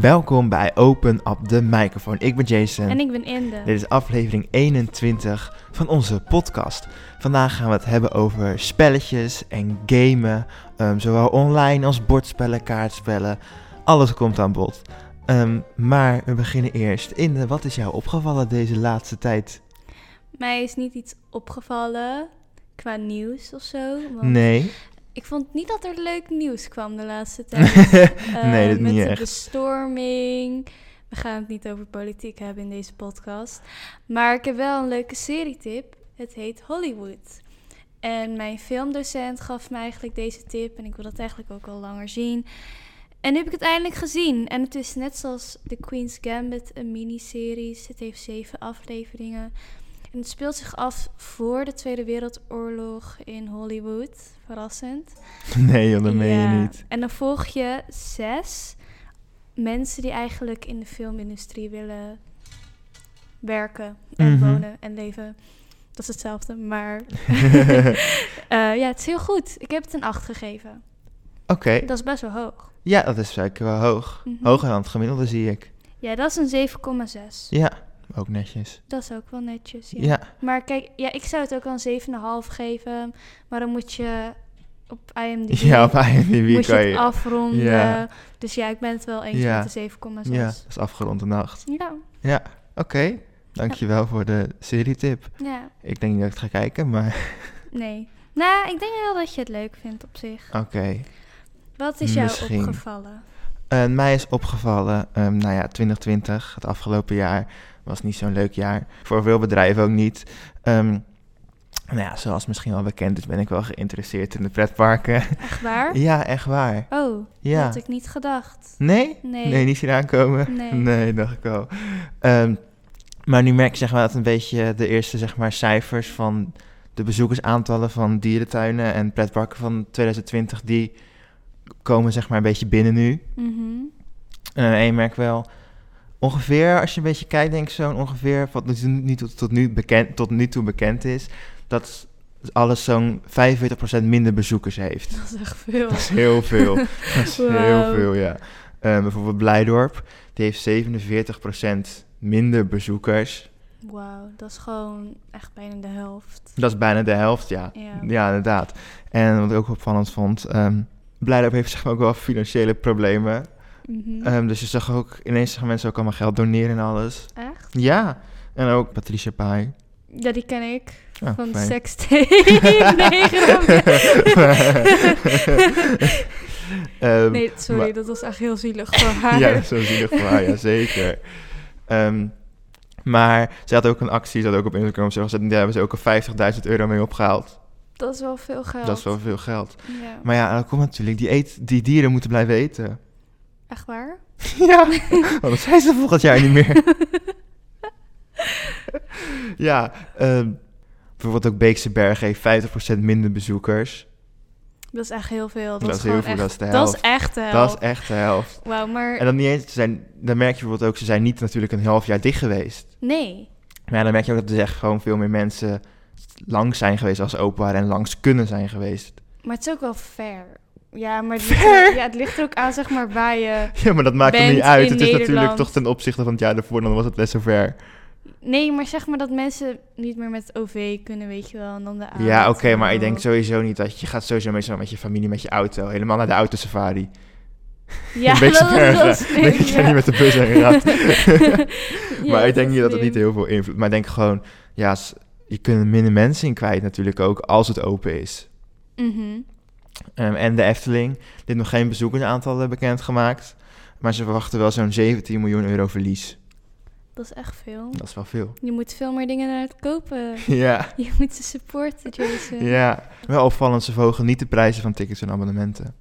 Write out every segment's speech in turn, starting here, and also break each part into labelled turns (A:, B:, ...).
A: Welkom bij Open Up de Microfoon. Ik ben Jason.
B: En ik ben Inde.
A: Dit is aflevering 21 van onze podcast. Vandaag gaan we het hebben over spelletjes en gamen. ehm, zowel online als bordspellen, kaartspellen. Alles komt aan bod. Ehm, maar we beginnen eerst. Inde, wat is jou opgevallen deze laatste tijd?
B: Mij is niet iets opgevallen qua nieuws of zo. want
A: Nee.
B: Ik vond niet dat er leuk nieuws kwam de laatste tijd. Eh,
A: Nee, dat
B: met
A: niet
B: de
A: echt.
B: bestorming. We gaan het niet over politiek hebben in deze podcast. Maar ik heb wel een leuke serietip. Het heet Hollywood. En mijn filmdocent gaf me eigenlijk deze tip. En ik wil dat eigenlijk ook al langer zien. En nu heb ik het eindelijk gezien. En het is net zoals The Queen's Gambit, een miniserie. Het heeft zeven afleveringen. En het speelt zich af voor de Tweede Wereldoorlog in Hollywood. Verrassend.
A: Nee, joh, dat meen
B: Ja,
A: je niet.
B: En dan volg je zes mensen die eigenlijk in de filmindustrie willen werken en
A: Mhm.
B: wonen en leven. Dat is hetzelfde, maar eh, ja, het is heel goed. Ik heb het een 8 gegeven.
A: Oké.
B: Dat is best wel hoog.
A: Ja, dat is zeker wel hoog.
B: Mhm.
A: Hoger dan het gemiddelde zie ik.
B: Ja, dat is een 7,6.
A: Ja, ook netjes.
B: Dat is ook wel netjes. Ja.
A: Ja.
B: Maar kijk, ja, ik zou het ook wel een 7,5 geven, maar dan moet je op IMDb
A: Ja, op IMDb
B: moet je
A: kan
B: het
A: je...
B: afronden.
A: Ja.
B: Dus ja, ik ben het wel eens
A: Ja.
B: met de 7,6.
A: Ja, dat is afgerond de nacht.
B: ja.
A: Oké, dankjewel voor de serietip.
B: Ja,
A: Ik denk dat ik het ga kijken, maar
B: nee. Nou, ik denk wel dat je het leuk vindt op zich.
A: oké.
B: Wat is jou
A: Misschien.
B: opgevallen?
A: Eh, mij is opgevallen, ehm, nou ja, 2020, het afgelopen jaar, was niet zo'n leuk jaar. Voor veel bedrijven ook niet. Ehm, nou ja, zoals misschien wel bekend is, ben ik wel geïnteresseerd in de pretparken.
B: Echt waar?
A: ja, echt waar.
B: Oh, dat
A: Ja.
B: had ik niet gedacht.
A: Nee?
B: Nee.
A: Nee, niet zien aankomen.
B: Nee.
A: dacht ik al. maar nu merk ik zeg maar, dat een beetje de eerste zeg maar, cijfers van de bezoekersaantallen van dierentuinen en pretparken van 2020, die komen zeg maar, een beetje binnen nu.
B: Mhm.
A: Eh, en je merkt wel ongeveer, als je een beetje kijkt, denk ik zo'n ongeveer wat nu- nu tot, tot, nu bekend, tot nu toe bekend is, dat alles zo'n 45% minder bezoekers heeft.
B: Dat is echt veel.
A: Dat is heel veel. Dat is heel
B: Wauw.
A: veel, ja. Eh, bijvoorbeeld Blijdorp, die heeft 47% minder bezoekers.
B: Wauw, dat is gewoon echt bijna de helft.
A: Dat is bijna de helft, ja.
B: Ja.
A: Ja, inderdaad. En wat ik ook opvallend vond, ehm Blijdorp heeft zeg maar ook wel financiële problemen.
B: Mhm.
A: Ehm, dus je zag ook ineens gaan mensen ook allemaal geld doneren en alles.
B: Echt?
A: Ja, en ook Patricia Pai.
B: Ja, die ken ik.
A: Ja,
B: van de
A: fijn.
B: sekstape. nee, grapje.
A: Ehm,
B: nee, sorry,
A: maar-
B: dat was echt heel zielig voor haar.
A: Ja, zo zielig voor haar, ja zeker. Ehm, maar ze had ook een actie, ze had ook op Instagram zo gezet, en daar hebben ze ook al 50.000 euro mee opgehaald.
B: Dat is wel veel geld.
A: Dat is wel veel geld.
B: Ja.
A: Maar ja, dat komt natuurlijk, die, eet, die dieren moeten blijven eten.
B: Echt waar?
A: ja, want dan zijn ze volgend jaar niet meer. ja, ehm, bijvoorbeeld ook Beekse Berg heeft 50% minder bezoekers.
B: Dat is echt heel veel. Dat,
A: Dat
B: is
A: is heel
B: gewoon
A: veel,
B: echt,
A: dat is de
B: Dat is
A: helft.
B: echt de
A: Dat is
B: helft.
A: echt de helft.
B: Wauw, maar
A: En dan niet eens, ze zijn, dan merk je bijvoorbeeld ook, ze zijn niet natuurlijk een half jaar dicht geweest.
B: nee.
A: Maar ja, dan merk je ook dat er echt gewoon veel meer mensen langs zijn geweest als ze open waren en langs kunnen zijn geweest.
B: Maar het is ook wel fair. Ja, maar het, ligt
A: Fair?
B: er- ja, het ligt er ook aan, zeg maar, waar je...
A: Ja, maar dat maakt er
B: Bent
A: niet uit.
B: in
A: Het is natuurlijk
B: Nederland.
A: toch ten opzichte van het jaar daarvoor, dan was het best zover.
B: Nee, maar zeg maar dat mensen niet meer met het OV kunnen, weet je wel. En dan de auto.
A: ja, oké, maar ik denk sowieso niet dat je- je gaat sowieso meestal met je familie, met je auto, helemaal naar de autosafari.
B: Ja,
A: een beetje
B: dat,
A: ver
B: dat
A: gaan.
B: is
A: Denk ik
B: ja.
A: ben niet met de bus heen gegaan.
B: Ja,
A: maar ik
B: dat
A: denk
B: is
A: niet dat het
B: slim.
A: niet heel veel invloed... Maar ik denk gewoon, ja, s- je kunt er minder mensen in kwijt natuurlijk ook als het open is.
B: Mhm.
A: Ehm, en de Efteling. Dit nog geen bezoekersaantallen bekendgemaakt. Maar ze verwachten wel zo'n 17 miljoen euro verlies.
B: Dat is echt veel.
A: Dat is wel veel.
B: Je moet veel meer dingen naar het kopen.
A: Ja,
B: Je moet ze supporten, Jason.
A: ja. Wel opvallend, ze verhogen niet de prijzen van tickets en abonnementen.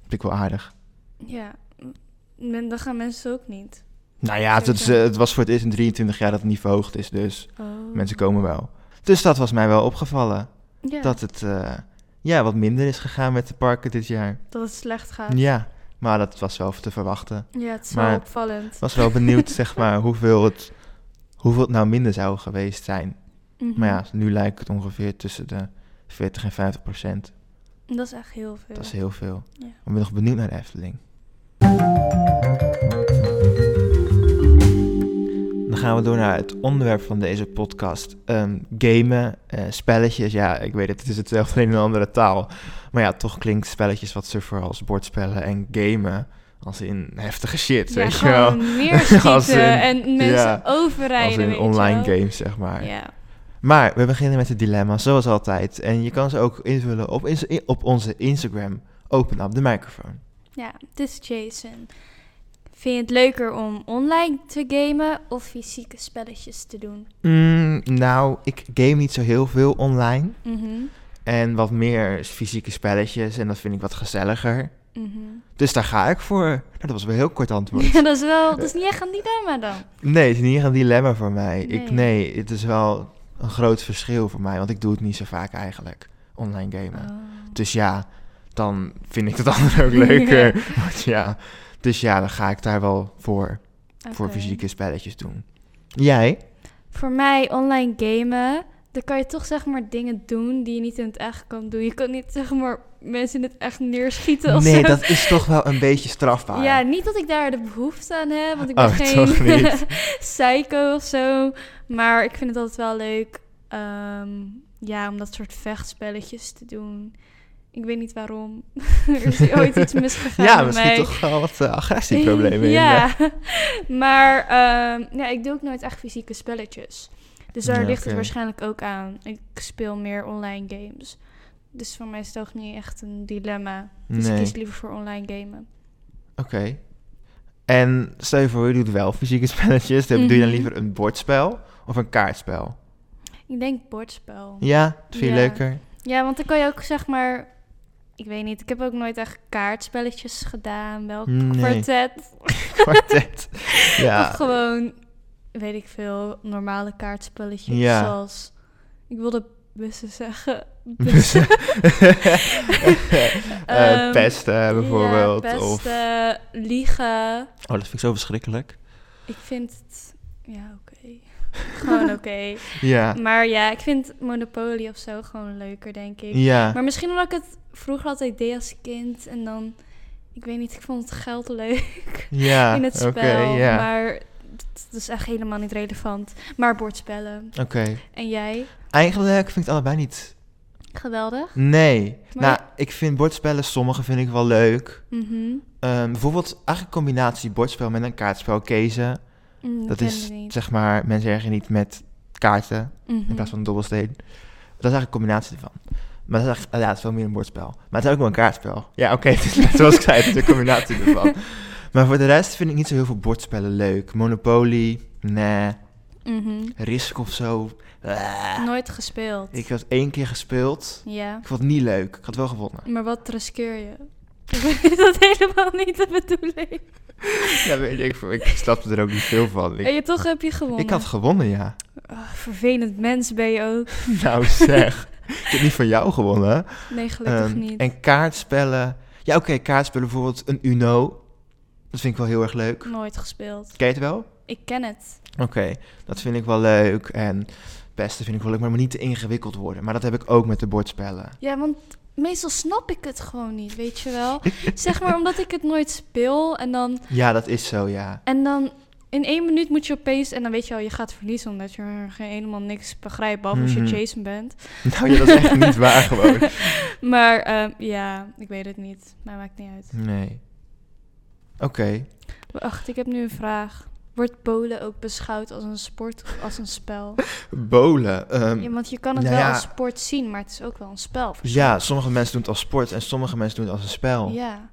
A: Vind ik wel aardig.
B: Ja. Men- Dan gaan mensen ook niet.
A: Nou ja, het, is, eh, het was voor het eerst in 23 jaar dat het niet verhoogd is, dus
B: Oh.
A: mensen komen wel. Dus dat was mij wel opgevallen.
B: Ja, dat...
A: Dat het eh, ja, wat minder is gegaan met de parken dit jaar.
B: het slecht gaat.
A: Ja, maar dat was wel te verwachten.
B: Ja, het is
A: Maar-
B: wel opvallend.
A: Ik was wel benieuwd, zeg maar, hoeveel het, hoeveel het nou minder zou geweest zijn.
B: Mhm.
A: Maar ja, nu lijkt het ongeveer tussen de 40 en 50 procent.
B: Dat is echt heel veel.
A: Dat is heel veel.
B: Ja.
A: Ik ben nog benieuwd naar de Efteling. gaan we door naar het onderwerp van deze podcast. Ehm, gamen, eh, spelletjes. Ja, ik weet het, het is hetzelfde in een andere taal. Maar ja, toch klinkt spelletjes wat suffer als bordspellen en gamen als in heftige shit,
B: Ja,
A: weet je wel.
B: gewoon neerschieten
A: Als in-
B: en mensen
A: ja,
B: overrijden.
A: Als
B: weet
A: in
B: je
A: online
B: wel.
A: games, zeg maar.
B: Ja.
A: Maar we beginnen met de dilemma's, zoals altijd. En je kan ze ook invullen op, ins- op onze Instagram. Open up de microfoon.
B: ja, dus Jason. Vind je het leuker om online te gamen of fysieke spelletjes te doen?
A: Mm, nou, ik game niet zo heel veel online.
B: Mhm,
A: En wat meer fysieke spelletjes. En dat vind ik wat gezelliger.
B: mhm.
A: Dus daar ga ik voor. Nou, dat was wel een heel kort antwoord.
B: Ja, dat is wel,
A: Eh,
B: dat is niet echt een dilemma dan.
A: Nee, het is niet echt een dilemma voor mij. Ik,
B: Nee.
A: nee, het is wel een groot verschil voor mij. Want ik doe het niet zo vaak eigenlijk, online gamen.
B: Oh.
A: Dus ja, dan vind ik het andere ook leuker. Want ja, dus ja, dan ga ik daar wel voor, voor
B: Oké.
A: fysieke spelletjes doen. Jij?
B: Voor mij online gamen, dan kan je toch zeg maar dingen doen die je niet in het echt kan doen. Je kan niet zeg maar mensen in het echt neerschieten of
A: Nee,
B: zo.
A: dat is toch wel een beetje strafbaar.
B: Ja, niet dat ik daar de behoefte aan heb, want ik ben
A: Oh, toch
B: geen
A: niet.
B: psycho of zo. Maar ik vind het altijd wel leuk ehm, ja, om dat soort vechtspelletjes te doen. Ik weet niet waarom. er is hier ooit iets misgegaan
A: ja,
B: met
A: misschien
B: mij.
A: toch wel wat eh, agressieproblemen in.
B: ja, maar ehm, ja, ik doe ook nooit echt fysieke spelletjes. Dus daar
A: Ja,
B: ligt
A: oké.
B: het waarschijnlijk ook aan. Ik speel meer online games. Dus voor mij is het ook niet echt een dilemma.
A: eh,
B: Dus ik
A: Nee,
B: kies
A: oké.
B: liever voor online gamen.
A: En stel je voor, je doet wel fysieke spelletjes. Dan Doe je dan
B: Mhm.
A: liever een bordspel of een kaartspel?
B: Ik denk bordspel.
A: Ja, dat vind je
B: Ja.
A: leuker?
B: Ja, want dan kan je ook zeg maar. Ik weet niet, ik heb ook nooit echt kaartspelletjes gedaan. Wel
A: Nee.
B: kwartet.
A: Kwartet.
B: Of
A: Ja.
B: gewoon, weet ik veel, normale kaartspelletjes.
A: Ja.
B: Zoals. Ik wilde bussen zeggen.
A: Bussen. Eh,
B: Ehm,
A: pesten bijvoorbeeld.
B: Ja, pesten,
A: Of...
B: liegen.
A: Oh, dat vind ik zo verschrikkelijk.
B: Ik vind het. Ja, oké. gewoon oké.
A: Ja.
B: Maar ja, ik vind Monopoly of zo gewoon leuker, denk ik.
A: Ja.
B: Maar misschien omdat ik het vroeger altijd deed als kind. En dan, ik weet niet, ik vond het geld leuk
A: ja.
B: in het spel.
A: Oké, ja.
B: Maar dat is echt helemaal niet relevant. Maar bordspellen.
A: Oké.
B: En jij?
A: Eigenlijk vind ik het allebei niet.
B: Geweldig.
A: Nee.
B: Maar-
A: Nou, ik vind bordspellen, sommige vind ik wel leuk.
B: Mhm.
A: Ehm, bijvoorbeeld eigenlijk een combinatie bordspel met een kaartspel kiezen.
B: Mm,
A: Dat
B: ken
A: is
B: ik niet. Mhm.
A: zeg maar, mensen ergen niet met kaarten in
B: Mm.
A: plaats van een dobbelsteen. Dat is eigenlijk een combinatie ervan. Maar dat is eigenlijk, ja, het is wel meer een bordspel. Maar het is ook wel een kaartspel. Ja, oké, het is net zoals ik zei, het is een combinatie ervan. Maar voor de rest vind ik niet zo heel veel bordspellen leuk. Monopoly, nee.
B: Mhm. Mhm.
A: Risk of zo. eh.
B: Nooit gespeeld.
A: Ik had één keer gespeeld.
B: Ja.
A: Ik vond het niet leuk. Ik had wel gewonnen.
B: Maar wat riskeer je? Ik weet dat helemaal niet de bedoeling.
A: Ja, weet ik. veel. Ik snapte er ook niet veel van.
B: en
A: Ik,
B: je toch heb je gewonnen.
A: ik had gewonnen, ja.
B: Ah, vervelend mens ben je ook.
A: Nou zeg. ik heb niet van jou gewonnen.
B: Nee, gelukkig
A: Ehm,
B: niet.
A: En kaartspellen. Ja, oké, kaartspellen bijvoorbeeld een Uno. Dat vind ik wel heel erg leuk.
B: Nooit gespeeld.
A: Ken je het wel?
B: Ik ken het.
A: Oké, dat vind ik wel leuk. En beste vind ik wel leuk, maar het moet niet te ingewikkeld worden. Maar dat heb ik ook met de bordspellen.
B: Ja, want meestal snap ik het gewoon niet, weet je wel. zeg maar omdat ik het nooit speel en dan,
A: Ja, dat is zo, ja.
B: en dan in één minuut moet je opeens... En dan weet je al, je gaat verliezen omdat je er geen- helemaal niks begrijpt, behalve als
A: Mhm.
B: je Jason bent.
A: Nou ja, dat is echt niet waar gewoon.
B: Maar ehm, ja, ik weet het niet. Maar maakt niet uit.
A: Nee. Oké.
B: Wacht, ik heb nu een vraag. Wordt Polen ook beschouwd als een sport of als een spel?
A: Bolen. ehm,
B: Ja, want je kan het
A: nou
B: wel
A: ja.
B: als sport zien, maar het is ook wel een spel. voor
A: Ja, sommige mensen doen het als sport en sommige mensen doen het als een spel. Ja,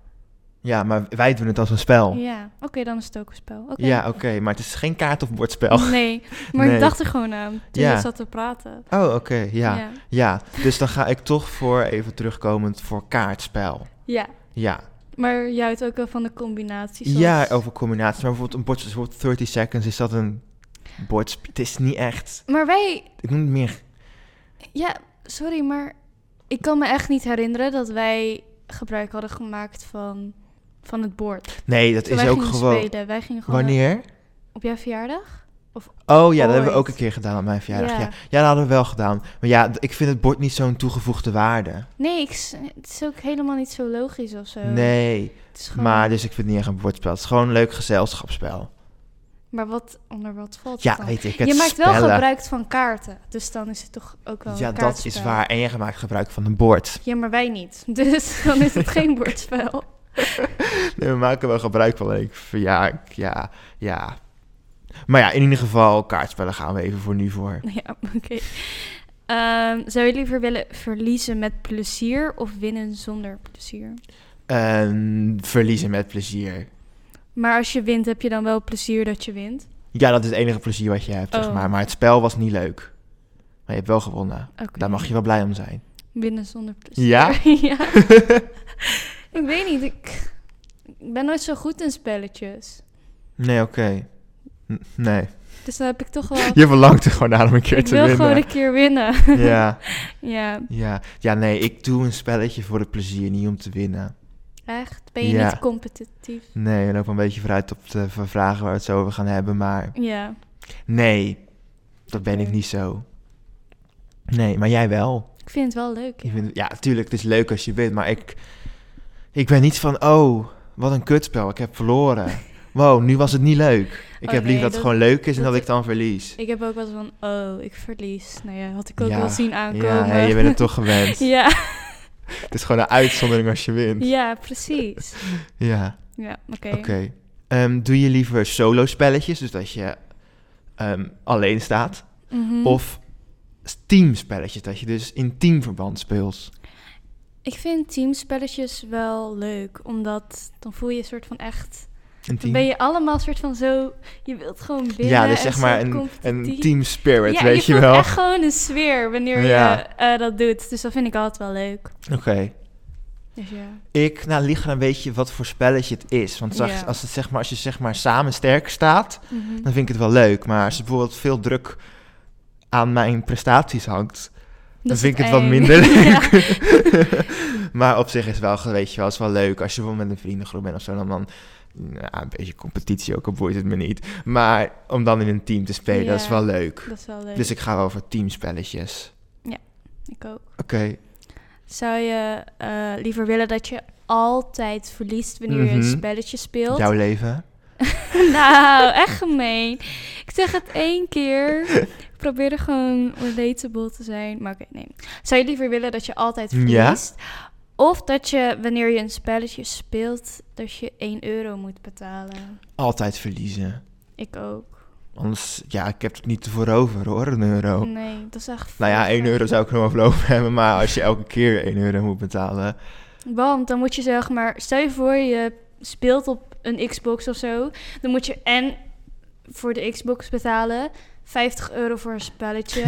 B: Ja,
A: maar wij doen het als een spel. Ja,
B: ja. Oké, dan is het ook een spel. Oké.
A: oké, maar het is geen kaart- of bordspel.
B: Nee, maar
A: Nee.
B: ik dacht er gewoon aan toen
A: Ja.
B: je zat te praten.
A: Oh, oké, ja, ja.
B: Ja.
A: dus dan ga ik toch voor, even terugkomend, voor kaartspel.
B: Ja,
A: Ja,
B: maar jij houdt ook wel van de combinatie. zoals-
A: ja over combinaties. Maar bijvoorbeeld een bordspel, is bijvoorbeeld 30 seconds, is dat een bordspel? Het is niet echt,
B: Maar wij,
A: ik noem het meer...
B: ja, sorry, maar ik kan me echt niet herinneren dat wij gebruik hadden gemaakt van, van het bord.
A: Nee, dat
B: Toen
A: is
B: wij
A: ook
B: gingen
A: gewoon...
B: spelen. Wij gingen gewoon
A: Wanneer?
B: op jouw verjaardag.
A: Oh ja, dat hebben we
B: Ooit.
A: ook een keer gedaan op mijn verjaardag. Ja.
B: Ja.
A: Ja. dat hadden we wel gedaan. Maar ja, d- ik vind het bord niet zo'n toegevoegde waarde.
B: Nee, ik, s- het is ook helemaal niet zo logisch of zo.
A: Nee. dus-
B: het is gewoon,
A: Maar dus ik vind het niet echt een bordspel. Het is gewoon een leuk gezelschapsspel.
B: Maar wat, onder wat valt het
A: Ja,
B: dan?
A: weet ik. Het
B: Je maakt wel
A: spellen.
B: gebruik van kaarten, dus dan is het toch ook wel
A: Ja,
B: een
A: dat is
B: kaartspel.
A: waar. En jij maakt gebruik van een bord.
B: Ja, maar wij niet. Dus dan is het geen bordspel.
A: Nee, we maken wel gebruik van ik Ja, ik- ja, ja. Maar ja, in ieder geval, kaartspellen gaan we even voor nu voor.
B: Ja, oké. Ehm, zou je liever willen verliezen met plezier of winnen zonder plezier?
A: En verliezen met plezier.
B: Maar als je wint, heb je dan wel plezier dat je wint?
A: Ja, dat is het enige plezier wat je hebt, zeg
B: Oh.
A: maar. Maar het spel was niet leuk. Maar je hebt wel gewonnen.
B: Oké.
A: Daar mag je wel blij om zijn.
B: Winnen zonder plezier.
A: Ja?
B: ja. Ik weet niet. Ik, ik ben nooit zo goed in spelletjes.
A: Nee, oké. N- Nee.
B: Dus dan heb ik toch wel...
A: Je verlangt er gewoon naar om een keer
B: ik
A: te
B: wil
A: winnen.
B: gewoon een keer winnen.
A: Ja,
B: ja.
A: ja. Ja, nee, ik doe een spelletje voor het plezier, niet om te winnen.
B: Echt? Ben je
A: Ja.
B: niet competitief?
A: Nee, we lopen een beetje vooruit op de vragen waar we het zo over gaan hebben, maar...
B: Ja.
A: Nee, dat ben ik niet zo. Nee, maar jij wel.
B: Ik vind het wel leuk.
A: Ik
B: ja.
A: vind, ja, tuurlijk, het is leuk als je wint, maar ik, ik ben niet van, oh, wat een kutspel, ik heb verloren. Wow, nu was het niet leuk. Ik
B: Oh,
A: heb liever
B: nee,
A: dat,
B: dat-
A: het gewoon leuk is en
B: dat-
A: dat ik dan verlies.
B: Ik heb ook wel eens van, oh, ik verlies. Nou ja, had ik ook
A: Ja,
B: wel zien aankomen.
A: Ja, hey, je bent het toch gewend.
B: ja,
A: Het is gewoon een uitzondering als je wint.
B: ja, precies.
A: Ja,
B: Ja, oké.
A: oké. Ehm, doe je liever solo spelletjes, dus dat je ehm, alleen staat,
B: Mhm.
A: of team spelletjes, dat je dus in teamverband speelt?
B: Ik vind teamspelletjes wel leuk, omdat dan voel je een soort van echt...
A: Een
B: Dan
A: team?
B: ben je allemaal soort van zo... Je wilt gewoon winnen.
A: Ja, dus
B: en
A: zeg maar
B: zo
A: een, een
B: competitief.
A: team spirit,
B: Ja,
A: weet je,
B: voelt
A: wel.
B: echt gewoon een sfeer wanneer je
A: Ja.
B: eh, dat doet. Dus dat vind ik altijd wel leuk.
A: Oké.
B: Dus ja.
A: Ik, nou, ligt er een beetje wat voor spelletje het is. Want als,
B: Ja.
A: als, het, zeg maar, als je zeg maar samen sterk staat,
B: Mhm.
A: dan vind ik het wel leuk. Maar als er bijvoorbeeld veel druk aan mijn prestaties hangt, dan
B: Dat is
A: vind ik het wat
B: eng.
A: minder
B: Ja.
A: leuk. maar op zich is wel, weet je wel, is wel leuk. Als je bijvoorbeeld met een vriendengroep bent of zo, dan, dan nou, een beetje competitie ook, al boeit het me niet. Maar om dan in een team te spelen, dat is
B: Ja.
A: wel leuk.
B: Dat is wel leuk.
A: Dus ik ga wel voor teamspelletjes.
B: ik ook.
A: Oké.
B: Zou je eh, liever willen dat je altijd verliest wanneer je
A: Mhm.
B: een spelletje speelt?
A: Jouw leven?
B: nou, echt gemeen. Ik zeg het één keer. Ik probeer er gewoon relatable te zijn. Maar oké, nee. Zou je liever willen dat je altijd
A: Ja.
B: verliest? Of dat je wanneer je een spelletje speelt, dat je 1 euro moet betalen?
A: Altijd verliezen.
B: Ik ook.
A: Anders, ja, ik heb het niet voor over hoor, een euro.
B: Nee, dat is echt...
A: Oh. Nou ja, 1
B: vreselijk.
A: euro zou ik nog wel voor over hebben, maar als je elke keer 1 euro moet betalen.
B: Want dan moet je zeg maar, stel je voor je speelt op een Xbox of zo, dan moet je en voor de Xbox betalen 50 euro voor een spelletje.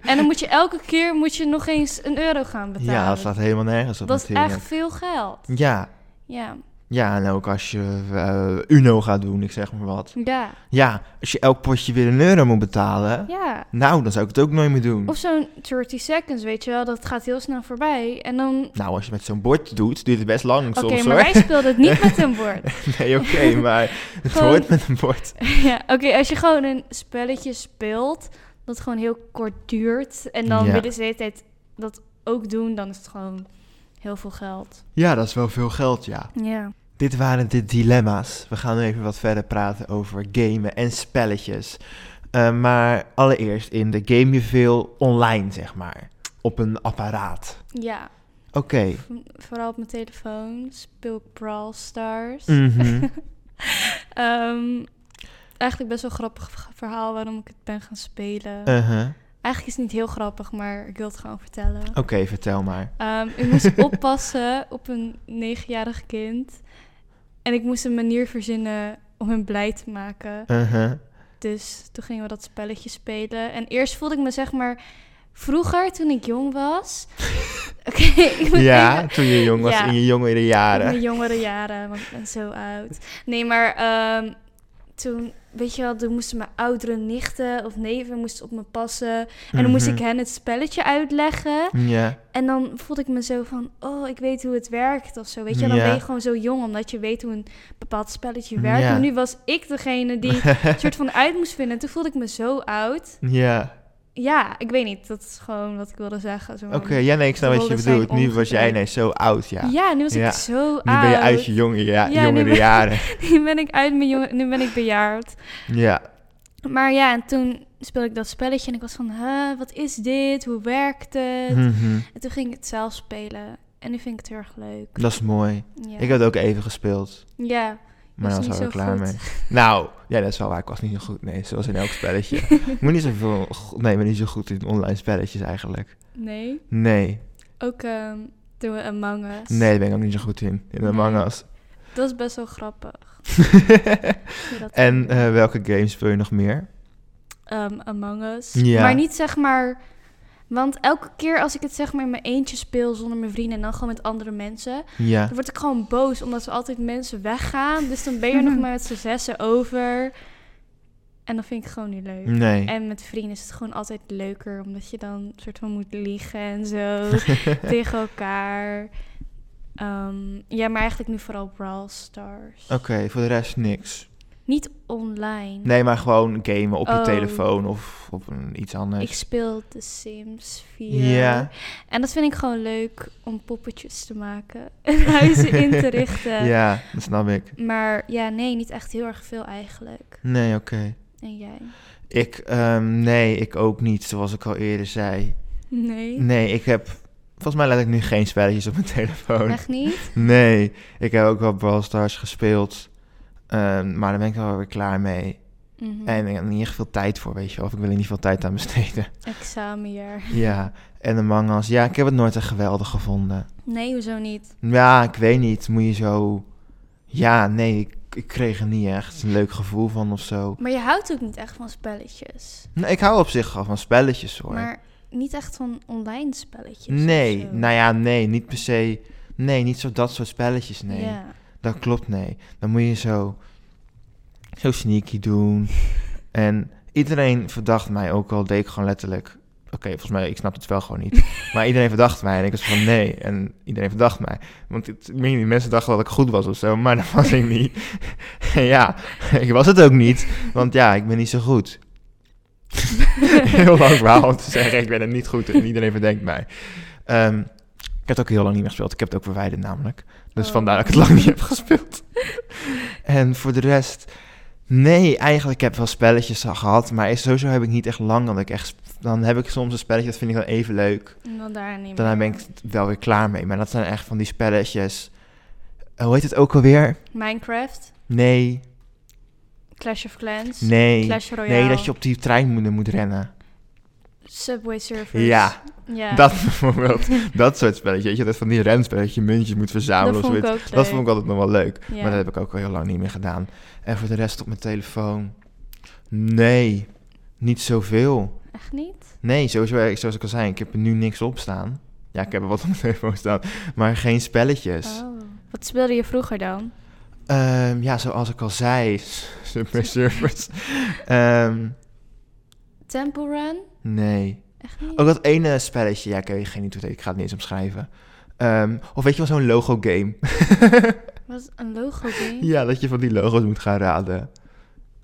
B: en dan moet je elke keer moet je nog eens een euro gaan betalen.
A: Ja, dat slaat helemaal nergens op
B: Dat is
A: natuurlijk.
B: echt veel geld.
A: Ja,
B: Ja,
A: ja, en ook als je eh, Uno gaat doen, ik zeg maar wat.
B: ja,
A: Ja, als je elk potje weer een euro moet betalen,
B: ja.
A: nou, dan zou ik het ook nooit meer doen.
B: Of zo'n 30 seconds, weet je wel, dat gaat heel snel voorbij. En dan,
A: Nou, als je het met zo'n bord doet, duurt het best lang
B: oké,
A: soms
B: maar
A: hoor.
B: wij speelden het niet met een bord.
A: Nee, oké, maar het
B: Gewoon-
A: hoort met een bord.
B: Ja, oké, als je gewoon een spelletje speelt dat gewoon heel kort duurt en dan
A: Ja.
B: willen ze de hele tijd dat ook doen, dan is het gewoon heel veel geld.
A: Ja, dat is wel veel geld, ja.
B: Ja.
A: Dit waren de dilemma's. We gaan nu even wat verder praten over gamen en spelletjes. Eh, maar allereerst in de game je veel online, zeg maar. Op een apparaat.
B: Ja,
A: Oké.
B: v- vooral op mijn telefoon speel ik Brawl Stars.
A: Mhm.
B: Ehm, eigenlijk best wel een grappig v- verhaal waarom ik het ben gaan spelen.
A: Uh-huh.
B: Eigenlijk is het niet heel grappig, maar ik wil het gewoon vertellen.
A: Oké, vertel maar.
B: Ehm, ik moest oppassen op een negenjarig kind. En ik moest een manier verzinnen om hem blij te maken.
A: Uh-huh.
B: Dus toen gingen we dat spelletje spelen. En eerst voelde ik me zeg maar... Vroeger, toen ik jong was... Oké, ik moet
A: Ja,
B: even-
A: toen je jong was,
B: Ja.
A: in je jongere
B: in
A: jaren.
B: mijn jongere jaren, want ik ben zo oud. Nee, maar ehm, toen, weet je wel, toen moesten mijn oudere nichten of neven moesten op me passen. En dan moest
A: Mhm.
B: ik hen het spelletje uitleggen.
A: Ja,
B: En dan voelde ik me zo van, oh, ik weet hoe het werkt of zo. Weet je, dan
A: Ja.
B: ben je gewoon zo jong, omdat je weet hoe een bepaald spelletje werkt.
A: Ja.
B: Maar nu was ik degene die een soort van uit moest vinden. En toen voelde ik me zo oud.
A: ja.
B: ja, ik weet niet. Dat is gewoon wat ik wilde zeggen. zeg maar.
A: Oké, ja, nee, ik snap
B: De
A: wat je
B: rollen zijn
A: bedoelt. Nu was jij
B: omgedraaid.
A: ineens zo oud, ja.
B: ja. nu was
A: Ja.
B: ik zo
A: Nu
B: oud.
A: ben je uit je jonge, ja,
B: Ja, nu
A: jongere
B: ben-
A: jaren.
B: nu ben ik uit mijn jongen, nu ben ik bejaard.
A: Ja,
B: Maar ja, en toen speelde ik dat spelletje en ik was van, huh, wat is dit? Hoe werkt het?
A: mhm.
B: En toen ging ik het zelf spelen. En nu vind ik het heel erg leuk.
A: dat is mooi.
B: Ja,
A: Ik had ook even gespeeld,
B: ja.
A: maar
B: Was
A: dan
B: niet
A: was ik
B: zo
A: klaar
B: goed.
A: mee. Nou, ja, dat is wel waar. Ik was niet zo goed. Nee, zoals in elk spelletje. ik moet niet zoveel... Nee, ik ben niet zo goed in online spelletjes eigenlijk.
B: nee.
A: Nee,
B: Ook ehm, toen we Among Us.
A: nee, daar ben ik ook niet zo goed in. In Among
B: Nee.
A: Us.
B: Dat is best wel grappig. hoe dat
A: en
B: werkt.
A: eh, welke games speel je nog meer?
B: Ehm, Among Us.
A: Ja.
B: Maar niet zeg maar... Want elke keer als ik het zeg maar in mijn eentje speel zonder mijn vrienden en dan gewoon met andere mensen,
A: Ja.
B: dan word ik gewoon boos omdat ze altijd mensen weggaan. Dus dan ben je er nog maar met z'n zessen over. En dat vind ik gewoon niet leuk.
A: Nee.
B: En met vrienden is het gewoon altijd leuker, omdat je dan soort van moet liegen en zo tegen elkaar. Ehm, ja, maar eigenlijk nu vooral Brawl Stars.
A: Oké, voor de rest niks.
B: Niet online.
A: Nee, maar gewoon gamen op je
B: Oh.
A: telefoon of op een, iets anders.
B: Ik speel The Sims 4.
A: Ja.
B: En dat vind ik gewoon leuk om poppetjes te maken en huizen in te richten.
A: Ja, dat snap ik.
B: Maar ja, nee, niet echt heel erg veel eigenlijk.
A: Nee, oké.
B: En jij?
A: Ik, ehm, nee, ik ook niet, zoals ik al eerder zei.
B: Nee.
A: Nee, ik heb, volgens mij laat ik nu geen spelletjes op mijn telefoon.
B: Echt niet?
A: Nee, ik heb ook wel Brawl Stars gespeeld. Ehm, maar daar ben ik wel weer klaar mee.
B: Mhm.
A: En ik heb er niet echt veel tijd voor, weet je wel. Of ik wil er niet veel tijd aan besteden.
B: Examenjaar.
A: ja, en Among Us. Ja, ik heb het nooit echt geweldig gevonden.
B: Nee, hoezo niet?
A: Ja, ik weet niet. Moet je zo... Ja, nee, ik, ik kreeg er niet echt een leuk gevoel van of zo.
B: Maar je houdt ook niet echt van spelletjes.
A: Nou, ik hou op zich al van spelletjes hoor.
B: Maar niet echt van online spelletjes. of
A: nee,
B: zo.
A: nou ja, nee, niet per se. Nee, niet zo dat soort spelletjes, nee.
B: Ja.
A: Dat klopt, nee. Dan moet je zo, zo sneaky doen. en iedereen verdacht mij ook al, deed ik gewoon letterlijk... Oké, volgens mij, ik snap het wel gewoon niet. maar iedereen verdacht mij en ik was van nee. En iedereen verdacht mij. Want het, ik meen, die mensen dachten dat ik goed was of zo, maar dat was ik niet. En ja, ik was het ook niet, want ja, ik ben niet zo goed. heel lang verhaal om te zeggen, ik ben er niet goed en iedereen verdenkt mij. Ehm, ik heb het ook heel lang niet meer gespeeld. Ik heb het ook verwijderd namelijk. Dus
B: Oh.
A: vandaar dat ik het lang niet heb gespeeld. en voor de rest, nee, eigenlijk heb ik wel spelletjes al gehad. Maar sowieso heb ik niet echt lang. Dan, ik echt, sp- dan heb ik soms een spelletje, dat vind ik dan even leuk.
B: En dan daar niet
A: Daarna ben
B: meer.
A: ik het wel weer klaar mee. Maar dat zijn echt van die spelletjes. Eh, Hoe heet het ook alweer?
B: Minecraft,
A: Nee,
B: Clash of Clans,
A: nee.
B: Clash Royale,
A: Nee, dat je op die trein moet, moet rennen.
B: Subway Surfers.
A: Ja,
B: ja.
A: dat bijvoorbeeld. Dat soort spelletjes. Weet je, dat van die renspelletjes, dat je muntjes moet verzamelen
B: dat
A: of
B: vond ik
A: zoiets.
B: ook leuk.
A: Dat vond ik altijd nog wel leuk.
B: Ja.
A: Maar dat heb ik ook al heel lang niet meer gedaan. En voor de rest op mijn telefoon. Nee, niet zoveel.
B: Echt niet?
A: Nee, sowieso, zoals ik al zei, ik heb er nu niks op staan. Ja, ik heb er wat op mijn telefoon staan, maar geen spelletjes.
B: Oh. Wat speelde je vroeger dan?
A: Ehm, ja, zoals ik al zei, Subway Surfers. Ehm,
B: Temple Run?
A: nee.
B: Echt niet?
A: Ook dat ene spelletje, ja, ik weet geen niet hoe het heet, ik ga het niet eens omschrijven. Ehm, of weet je wel, zo'n logo game.
B: Was een logo game?
A: ja, dat je van die logo's moet gaan raden.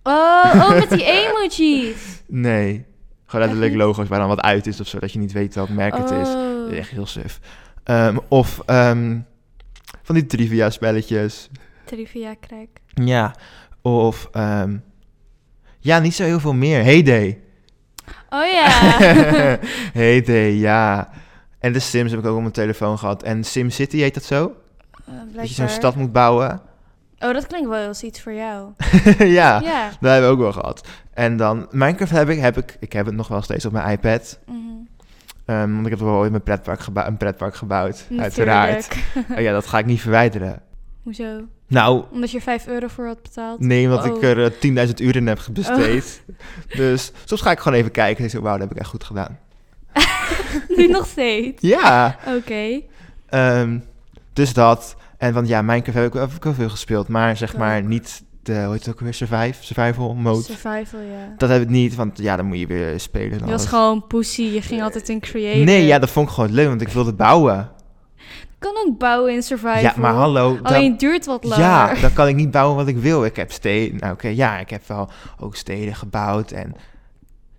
B: Oh, oh, met die emojis.
A: Nee. Gewoon letterlijk
B: niet?
A: logo's waar dan wat uit is of zo. Dat je niet weet welk merk het is.
B: Oh.
A: Echt heel suf. Ehm, of ehm, van die trivia spelletjes.
B: Trivia crack.
A: Ja. Of... ehm, ja, niet zo heel veel meer. Heyday.
B: Oh ja. Eh,
A: Heyday, ja. En de Sims heb ik ook op mijn telefoon gehad. En Sim City heet dat zo?
B: Eh,
A: Dat je zo'n
B: blijkbaar.
A: stad moet bouwen.
B: Oh, dat klinkt wel als iets voor jou.
A: ja,
B: Ja.
A: dat hebben we ook wel gehad. En dan Minecraft heb ik, heb ik... Ik heb het nog wel steeds op mijn iPad.
B: Mhm.
A: Ehm, want ik heb er wel ooit mijn pretpark gebou- een pretpark gebouwd, uiteraard.
B: Natuurlijk.
A: Oh ja, dat ga ik niet verwijderen.
B: Hoezo?
A: Nou,
B: Omdat je er 5 euro voor had betaald?
A: nee, omdat ik
B: Oh.
A: er eh, 10.000 uur in heb besteed. Dus soms ga ik gewoon even kijken en denk ik, wauw, dat heb ik echt goed gedaan.
B: nu nog steeds.
A: Ja,
B: Oké.
A: ehm, dus dat. En want ja, Minecraft heb ik, heb ik wel veel gespeeld, maar zeg
B: Ik
A: maar
B: ook.
A: niet de, hoe heet het ook weer, survive, survival mode.
B: Survival, ja.
A: Dat heb ik niet, want ja, dan moet je weer spelen. en
B: Je
A: alles.
B: was gewoon pussy. Je ging
A: Eh,
B: altijd in creative.
A: Nee, ja, dat vond ik gewoon leuk, want ik wilde bouwen.
B: kan ook bouwen in survival.
A: Ja, maar hallo. dat-
B: Alleen het duurt wat langer.
A: Ja, dan kan ik niet bouwen wat ik wil. Ik heb steden. Nou, oké, ja, ik heb wel ook steden gebouwd en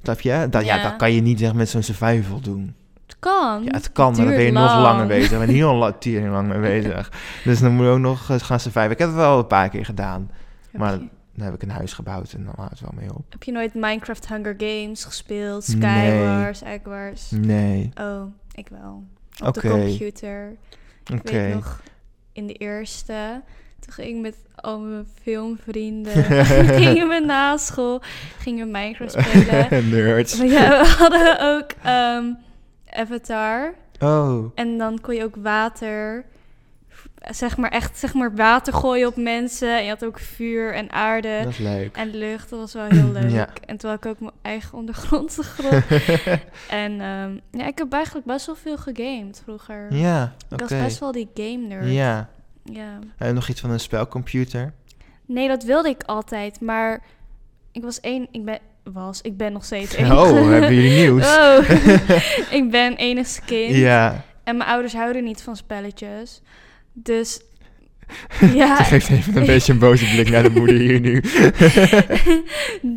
A: Snap je? Dat, ja.
B: Ja.
A: dat kan je niet echt met zo'n survival doen.
B: Het kan.
A: Ja, het kan, maar dan
B: duurt
A: ben je nog
B: lang.
A: langer bezig. Ben je heel la- tering lang mee bezig. Dus dan moet je ook nog eens gaan surviven. Ik heb het wel een paar keer gedaan.
B: Heb
A: maar-
B: je,
A: Dan heb ik een huis gebouwd en dan houdt het wel mee op.
B: heb je nooit Minecraft Hunger Games gespeeld?
A: Nee.
B: Skywars, Egg Wars?
A: Nee,
B: Oh, ik wel. Op de
A: Oké.
B: computer.
A: oké.
B: Ik weet nog, in de eerste, toen ging ik met al mijn filmvrienden, gingen we na school, gingen we Minecraft spelen.
A: Nerds.
B: Maar ja, we hadden ook ehm, Avatar.
A: Oh,
B: En dan kon je ook water, zeg maar echt zeg maar water gooien op mensen. En je had ook vuur en aarde
A: dat is leuk.
B: en lucht. Dat was wel heel leuk.
A: Ja.
B: En toen had ik ook mijn eigen ondergrondse grond. en ehm, ja, ik heb eigenlijk best wel veel gegamed vroeger.
A: ja,
B: Ik
A: oké.
B: was eh, best wel die game nerd.
A: Ja.
B: Ja.
A: En nog iets van een spelcomputer.
B: Nee, dat wilde ik altijd, maar ik was één. Ik ben was. Ik ben nog steeds één.
A: Oh, hebben jullie nieuws?
B: Oh, ik ben enigste kind.
A: Ja,
B: En mijn ouders houden niet van spelletjes. Dus ja.
A: ze geeft even een beetje een boze blik naar de moeder hier nu.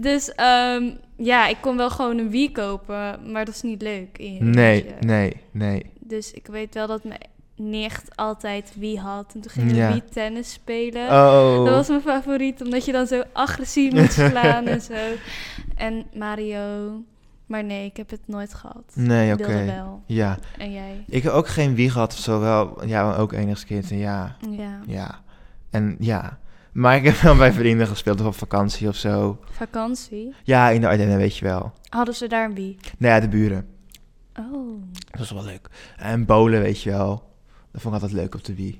B: dus ehm, ja, ik kon wel gewoon een Wii kopen, maar dat is niet leuk. in je
A: Nee,
B: huisje.
A: nee, nee.
B: Dus ik weet wel dat mijn nicht altijd Wii had. En toen gingen
A: Ja.
B: we Wii tennis spelen.
A: Oh,
B: Eh, Dat was mijn favoriet, omdat je dan zo agressief moet slaan en zo. En Mario. Maar nee, ik heb het nooit gehad.
A: nee,
B: Ik
A: oké.
B: wilde wel.
A: Ja,
B: En jij?
A: ik heb ook geen wieg gehad of zo. Wel, ja, ook enigszins. En ja,
B: Ja,
A: ja. En ja. Maar ik heb wel bij vrienden gespeeld of op vakantie of zo.
B: vakantie.
A: Ja, in de Ardennen, weet je wel.
B: Hadden ze daar een Wii?
A: Nou ja, de buren.
B: Oh.
A: Dat was wel leuk. En bowlen, weet je wel. Dat vond ik altijd leuk op de Wii.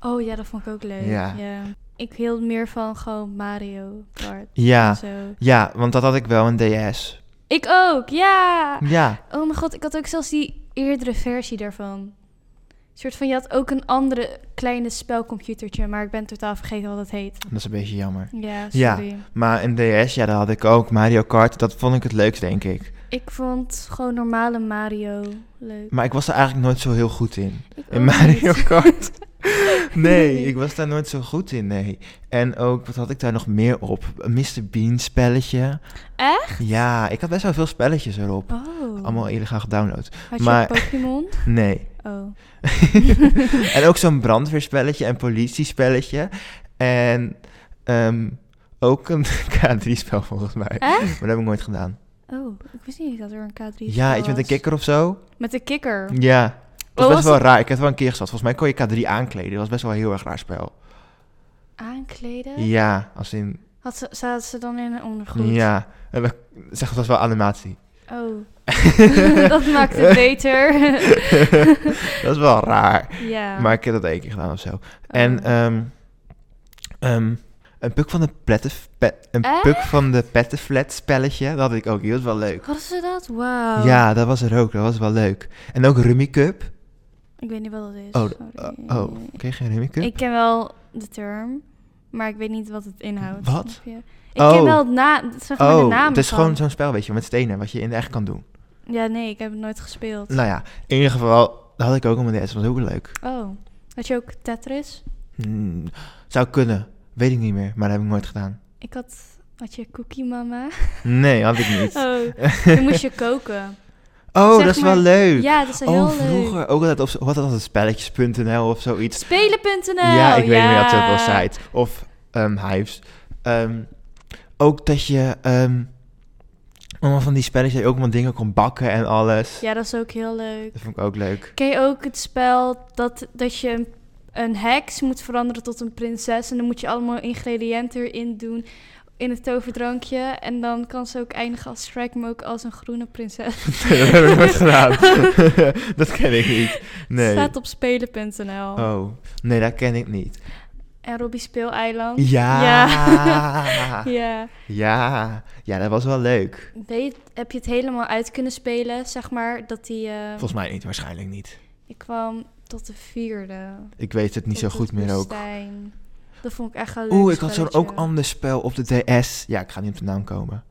B: Oh ja, dat vond ik ook leuk.
A: Ja.
B: Ja. Ik hield meer van gewoon Mario Kart. en
A: Ja,
B: Zo.
A: ja, want dat had ik wel, een DS.
B: Ik ook, ja!
A: Ja,
B: Oh mijn god, ik had ook zelfs die eerdere versie daarvan. Een soort van, je had ook een andere kleine spelcomputertje, maar ik ben totaal vergeten wat dat heet.
A: dat is een beetje jammer.
B: Ja,
A: Ja.
B: sorry.
A: Maar een DS, ja, dat had ik ook. Mario Kart, dat vond ik het leukst, denk ik.
B: Ik vond gewoon normale Mario leuk.
A: Maar ik was er eigenlijk nooit zo heel goed in.
B: Ik
A: In
B: ook
A: Mario
B: niet.
A: Kart? Nee,
B: Nee.
A: ik was daar nooit zo goed in, nee. En ook, wat had ik daar nog meer op? Een Mr. Bean spelletje.
B: Echt?
A: Ja, ik had best wel veel spelletjes erop.
B: Oh.
A: Allemaal illegaal gedownload.
B: Had je
A: maar-
B: ook Pokémon?
A: Nee.
B: Oh.
A: en ook zo'n brandweerspelletje en politiespelletje. En ehm, ook een K3-spel volgens mij.
B: Echt?
A: Maar dat heb ik nooit gedaan.
B: Oh, ik wist niet dat er een K3
A: Ja,
B: spel
A: iets met een
B: was.
A: kikker of zo.
B: Met de kikker.
A: Ja. Dat
B: Oh,
A: was
B: was
A: best wel
B: het-
A: raar. Ik heb het wel een keer gehad. Volgens mij kon je K3 aankleden. Dat was best wel een heel erg raar spel.
B: Aankleden?
A: Ja, als in
B: Had ze, zaten ze dan in een ondergoed?
A: Ja, en dan zeg, het was wel animatie.
B: Oh. dat maakt het beter.
A: Dat is wel raar.
B: ja.
A: Maar ik heb dat één keer gedaan of zo.
B: Oh.
A: En ehm, ehm, een puk van de pletten, pe- een
B: Echt?
A: puk van de pettenflat spelletje, dat had ik ook. Die was wel leuk.
B: Hadden ze dat? Wauw.
A: Ja, dat was er ook. Dat was wel leuk. En ook Rummy Cup.
B: Ik weet niet wat dat is.
A: Oh,
B: sorry.
A: Oh, oh, ken je geen Rummy Cup?
B: Ik ken wel de term, maar ik weet niet wat het inhoudt.
A: Wat?
B: snap je? Ik
A: Oh.
B: ken wel het na, zeg maar de
A: oh,
B: naam
A: het is
B: van.
A: gewoon zo'n spel, weet je, met stenen, wat je in de echt kan doen.
B: Ja, nee, ik heb het nooit gespeeld.
A: Nou ja, in ieder geval, dat had ik ook op mijn DS, was ook leuk.
B: Oh, had je ook Tetris?
A: Hmm, zou kunnen, weet ik niet meer, maar dat heb ik nooit gedaan.
B: Ik had, had je Cookie Mama?
A: Nee, had ik niet.
B: Oh, toen moest je koken.
A: Oh,
B: Zeg
A: dat is
B: maar-
A: wel leuk.
B: Ja, dat is heel
A: oh,
B: leuk.
A: vroeger ook altijd op wat was het spelletjes.nl of zoiets.
B: Spelen.nl.
A: ja,
B: Nou,
A: ik weet niet meer dat ook wel site of ehm Hives. Ehm, ook dat je ehm allemaal van die spelletjes dat je ook allemaal dingen kon bakken en alles.
B: Ja, dat is ook heel leuk.
A: Dat vond ik ook leuk.
B: Ken je ook het spel dat, dat je een, een heks moet veranderen tot een prinses en dan moet je allemaal ingrediënten erin doen in het toverdrankje en dan kan ze ook eindigen als Shrek, maar ook als een groene prinses.
A: Nee, dat heb ik nooit gedaan. dat ken ik niet. Nee.
B: Staat op spelen.nl.
A: Oh, nee, dat ken ik niet.
B: En Robbie Speeleiland.
A: Ja.
B: Ja.
A: Ja.
B: Ja.
A: ja. dat was wel leuk.
B: Ben je- heb je het helemaal uit kunnen spelen, zeg maar, dat die... eh,
A: Volgens mij niet, waarschijnlijk niet.
B: ik kwam tot de vierde.
A: Ik weet het niet zo
B: Tot
A: goed
B: het
A: meer ook.
B: woestijn. Dat vond ik echt wel leuk
A: Oeh, ik had zo'n ook
B: spelletje.
A: ander spel op de DS. Ja, ik ga niet op de naam komen.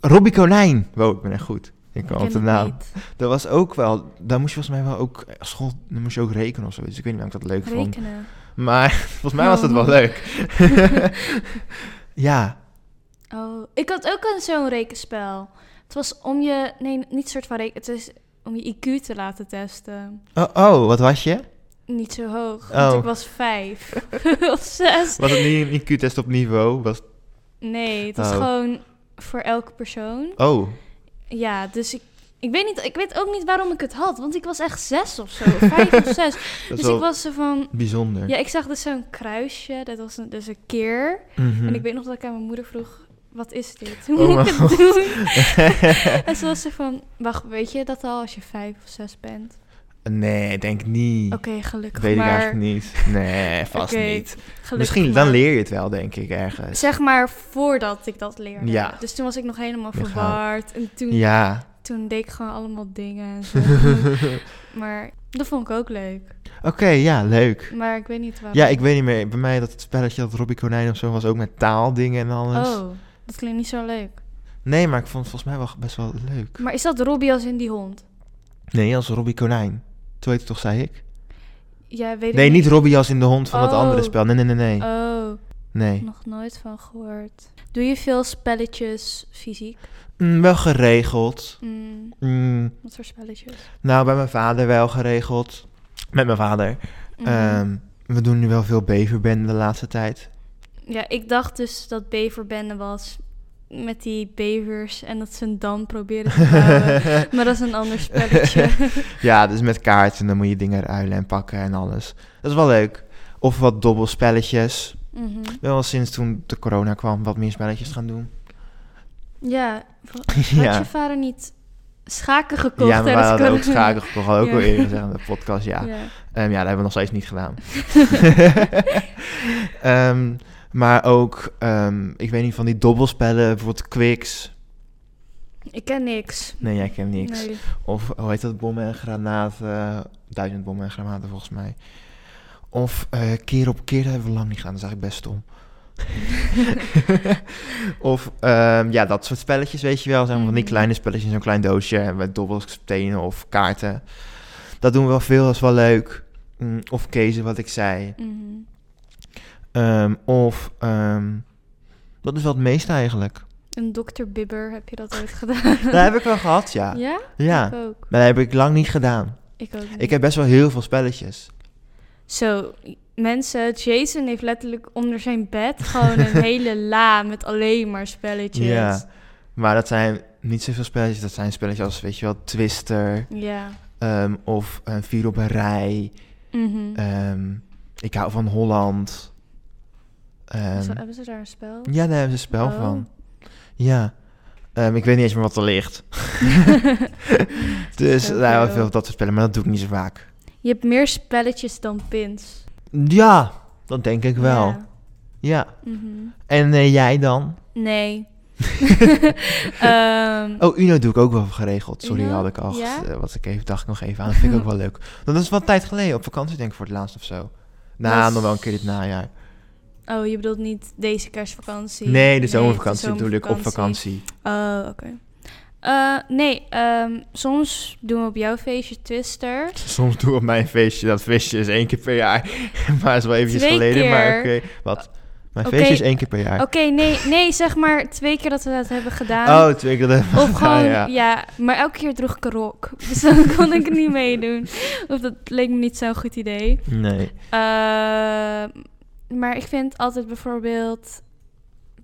A: Robbie Konijn. Wow, ik ben echt goed. Ik kwam
B: Ken
A: op de
B: ik
A: naam.
B: niet.
A: Dat was ook wel... Daar moest je volgens mij wel ook... eh, School, dan moest je ook rekenen of zo. Dus ik weet niet of ik dat leuk vond.
B: Rekenen.
A: Maar volgens mij was dat wel
B: Oh.
A: leuk. ja.
B: Oh, ik had ook een zo'n rekenspel. Het was om je, nee, niet soort van reken, het is om je IQ te laten testen.
A: Oh, oh, wat was je?
B: Niet zo hoog,
A: Oh.
B: want ik was vijf of zes.
A: Was het niet een IQ-test op niveau? Was...
B: Nee, het was
A: Oh.
B: gewoon voor elke persoon.
A: Oh,
B: Ja, dus ik, ik, weet niet, ik weet ook niet waarom ik het had, want ik was echt zes of zo, vijf of zes.
A: dat is
B: dus
A: wel
B: ik was zo van...
A: bijzonder.
B: Ja, ik zag dus zo'n kruisje, dat was een- dus een keer.
A: Mhm.
B: En ik weet nog dat ik aan mijn moeder vroeg, wat is dit? Hoe
A: Oh
B: moet
A: mijn
B: ik het
A: God.
B: doen? en ze was zo van, wacht, weet je dat al als je vijf of zes bent?
A: Eh, Nee, ik denk niet.
B: Oké, gelukkig
A: Dat weet ik
B: maar.
A: eigenlijk niet. Nee, vast
B: Oké,
A: niet.
B: Gelukkig
A: Misschien,
B: maar.
A: dan leer je het wel, denk ik, ergens.
B: Zeg maar voordat ik dat leerde.
A: Ja.
B: Dus toen was ik nog helemaal
A: Je gaat-
B: verward. En toen,
A: Ja.
B: toen deed ik gewoon allemaal dingen en zo. maar dat vond ik ook leuk.
A: Oké, ja, leuk.
B: Maar ik weet niet waarom.
A: Ja, ik weet niet meer. Bij mij dat het spelletje dat Robbie Konijn of zo was ook met taaldingen en alles.
B: Oh, dat klinkt niet zo leuk.
A: Nee, maar ik vond het volgens mij wel best wel leuk.
B: Maar is dat Robbie als in die hond?
A: Nee, als Robbie Konijn. Toen heette het toch, zei ik?
B: Ja, weet ik
A: Nee, niet Robbie als in de hond van dat
B: Oh.
A: andere spel. Nee, nee, nee, nee.
B: Oh,
A: nee.
B: nog nooit van gehoord. Doe je veel spelletjes fysiek?
A: Mm, wel geregeld.
B: Mm,
A: Mm,
B: wat voor spelletjes?
A: nou, bij mijn vader wel geregeld. Met mijn vader.
B: Mhm.
A: Ehm, we doen nu wel veel beverbenden de laatste tijd.
B: ja, ik dacht dus dat beverbende was met die bevers en dat ze een dam proberen te bouwen. Oh. maar dat is een ander spelletje.
A: Ja, dus met kaarten en dan moet je dingen ruilen en pakken en alles. Dat is wel leuk. Of wat dobbelspelletjes.
B: Mhm.
A: Ik ben Wel sinds toen de corona kwam wat meer spelletjes gaan doen.
B: Ja, wa- had
A: ja.
B: je vader niet schaken gekocht?
A: ja, maar we
B: tijdens
A: hadden ook
B: corona?
A: schaken gekocht. Hadden we ook
B: Ja.
A: al eerder gezegd in de podcast, ja. Ehm,
B: Ja.
A: Ja, dat hebben we nog steeds niet gedaan. Ehm, maar ook, ehm, ik weet niet, van die dobbelspellen, bijvoorbeeld Quicks.
B: Ik ken niks.
A: Nee, jij kent niks.
B: Nee.
A: Of hoe heet dat? Bommen en granaten. Duizend bommen en granaten volgens mij. Of eh, keer op keer, dat hebben we lang niet gedaan. Dat is eigenlijk best stom. of ehm, ja, dat soort spelletjes, weet je wel. Zijn van die
B: Mhm.
A: kleine spelletjes in zo'n klein doosje. en Met dobbelstenen of kaarten. Dat doen we wel veel, dat is wel leuk. Mm, of kezen, wat ik zei.
B: Mhm.
A: Ehm, of, ehm, dat is wel het meeste eigenlijk.
B: Een dokter Bibber, heb je dat ooit gedaan?
A: Dat heb ik wel gehad, ja. Ja,
B: Ja? Ik ook.
A: maar dat heb ik lang niet gedaan.
B: Ik ook niet.
A: Ik heb best wel heel veel spelletjes.
B: Zo, mensen, Jason heeft letterlijk onder zijn bed gewoon een hele la met alleen maar spelletjes.
A: Ja, maar dat zijn niet zoveel spelletjes. Dat zijn spelletjes als, weet je wel, Twister
B: Ja.
A: ehm, of eh, Vier op een Rij.
B: Mhm.
A: ehm, ik hou van Holland. Ehm,
B: Zo, hebben ze daar een spel?
A: ja, daar hebben ze spel
B: Oh.
A: van. Ja. Ehm, ik weet niet eens meer wat er ligt. dus
B: Zo
A: daar hebben we
B: veel.
A: veel dat soort spellen, maar dat doe ik niet zo vaak.
B: Je hebt meer spelletjes dan pins.
A: Ja, dat denk ik wel. Ja.
B: Ja. Mhm.
A: En eh, jij dan?
B: Nee. Ehm,
A: Oh, Uno doe ik ook wel geregeld. Sorry,
B: Uno?
A: had ik al.
B: Ja?
A: eh, wat ik even dacht ik nog even aan. Dat vind ik ook wel leuk. Want dat is wel een tijd geleden. Op vakantie denk ik voor het laatst of zo. Na,
B: Dat is-
A: nog wel een keer dit najaar.
B: oh, je bedoelt niet deze kerstvakantie?
A: Nee, de
B: het is
A: zomervakantie bedoel ik op vakantie.
B: Oh, oké. Eh, nee, ehm, soms doen we op jouw feestje Twister.
A: Soms doe ik op mijn feestje. Dat feestje is één keer per jaar. maar is wel eventjes
B: Twee
A: geleden. Maar oké,
B: keer.
A: wat? Mijn
B: Oké.
A: feestje is één keer per jaar.
B: Oké, nee, nee, zeg maar twee keer dat we dat hebben gedaan.
A: Oh, twee keer. dat-
B: Of gewoon,
A: ja.
B: ja. Maar elke keer droeg ik een rok. Dus dan kon ik niet meedoen. Of dat leek me niet zo'n goed idee.
A: Nee.
B: Ehm, maar ik vind altijd bijvoorbeeld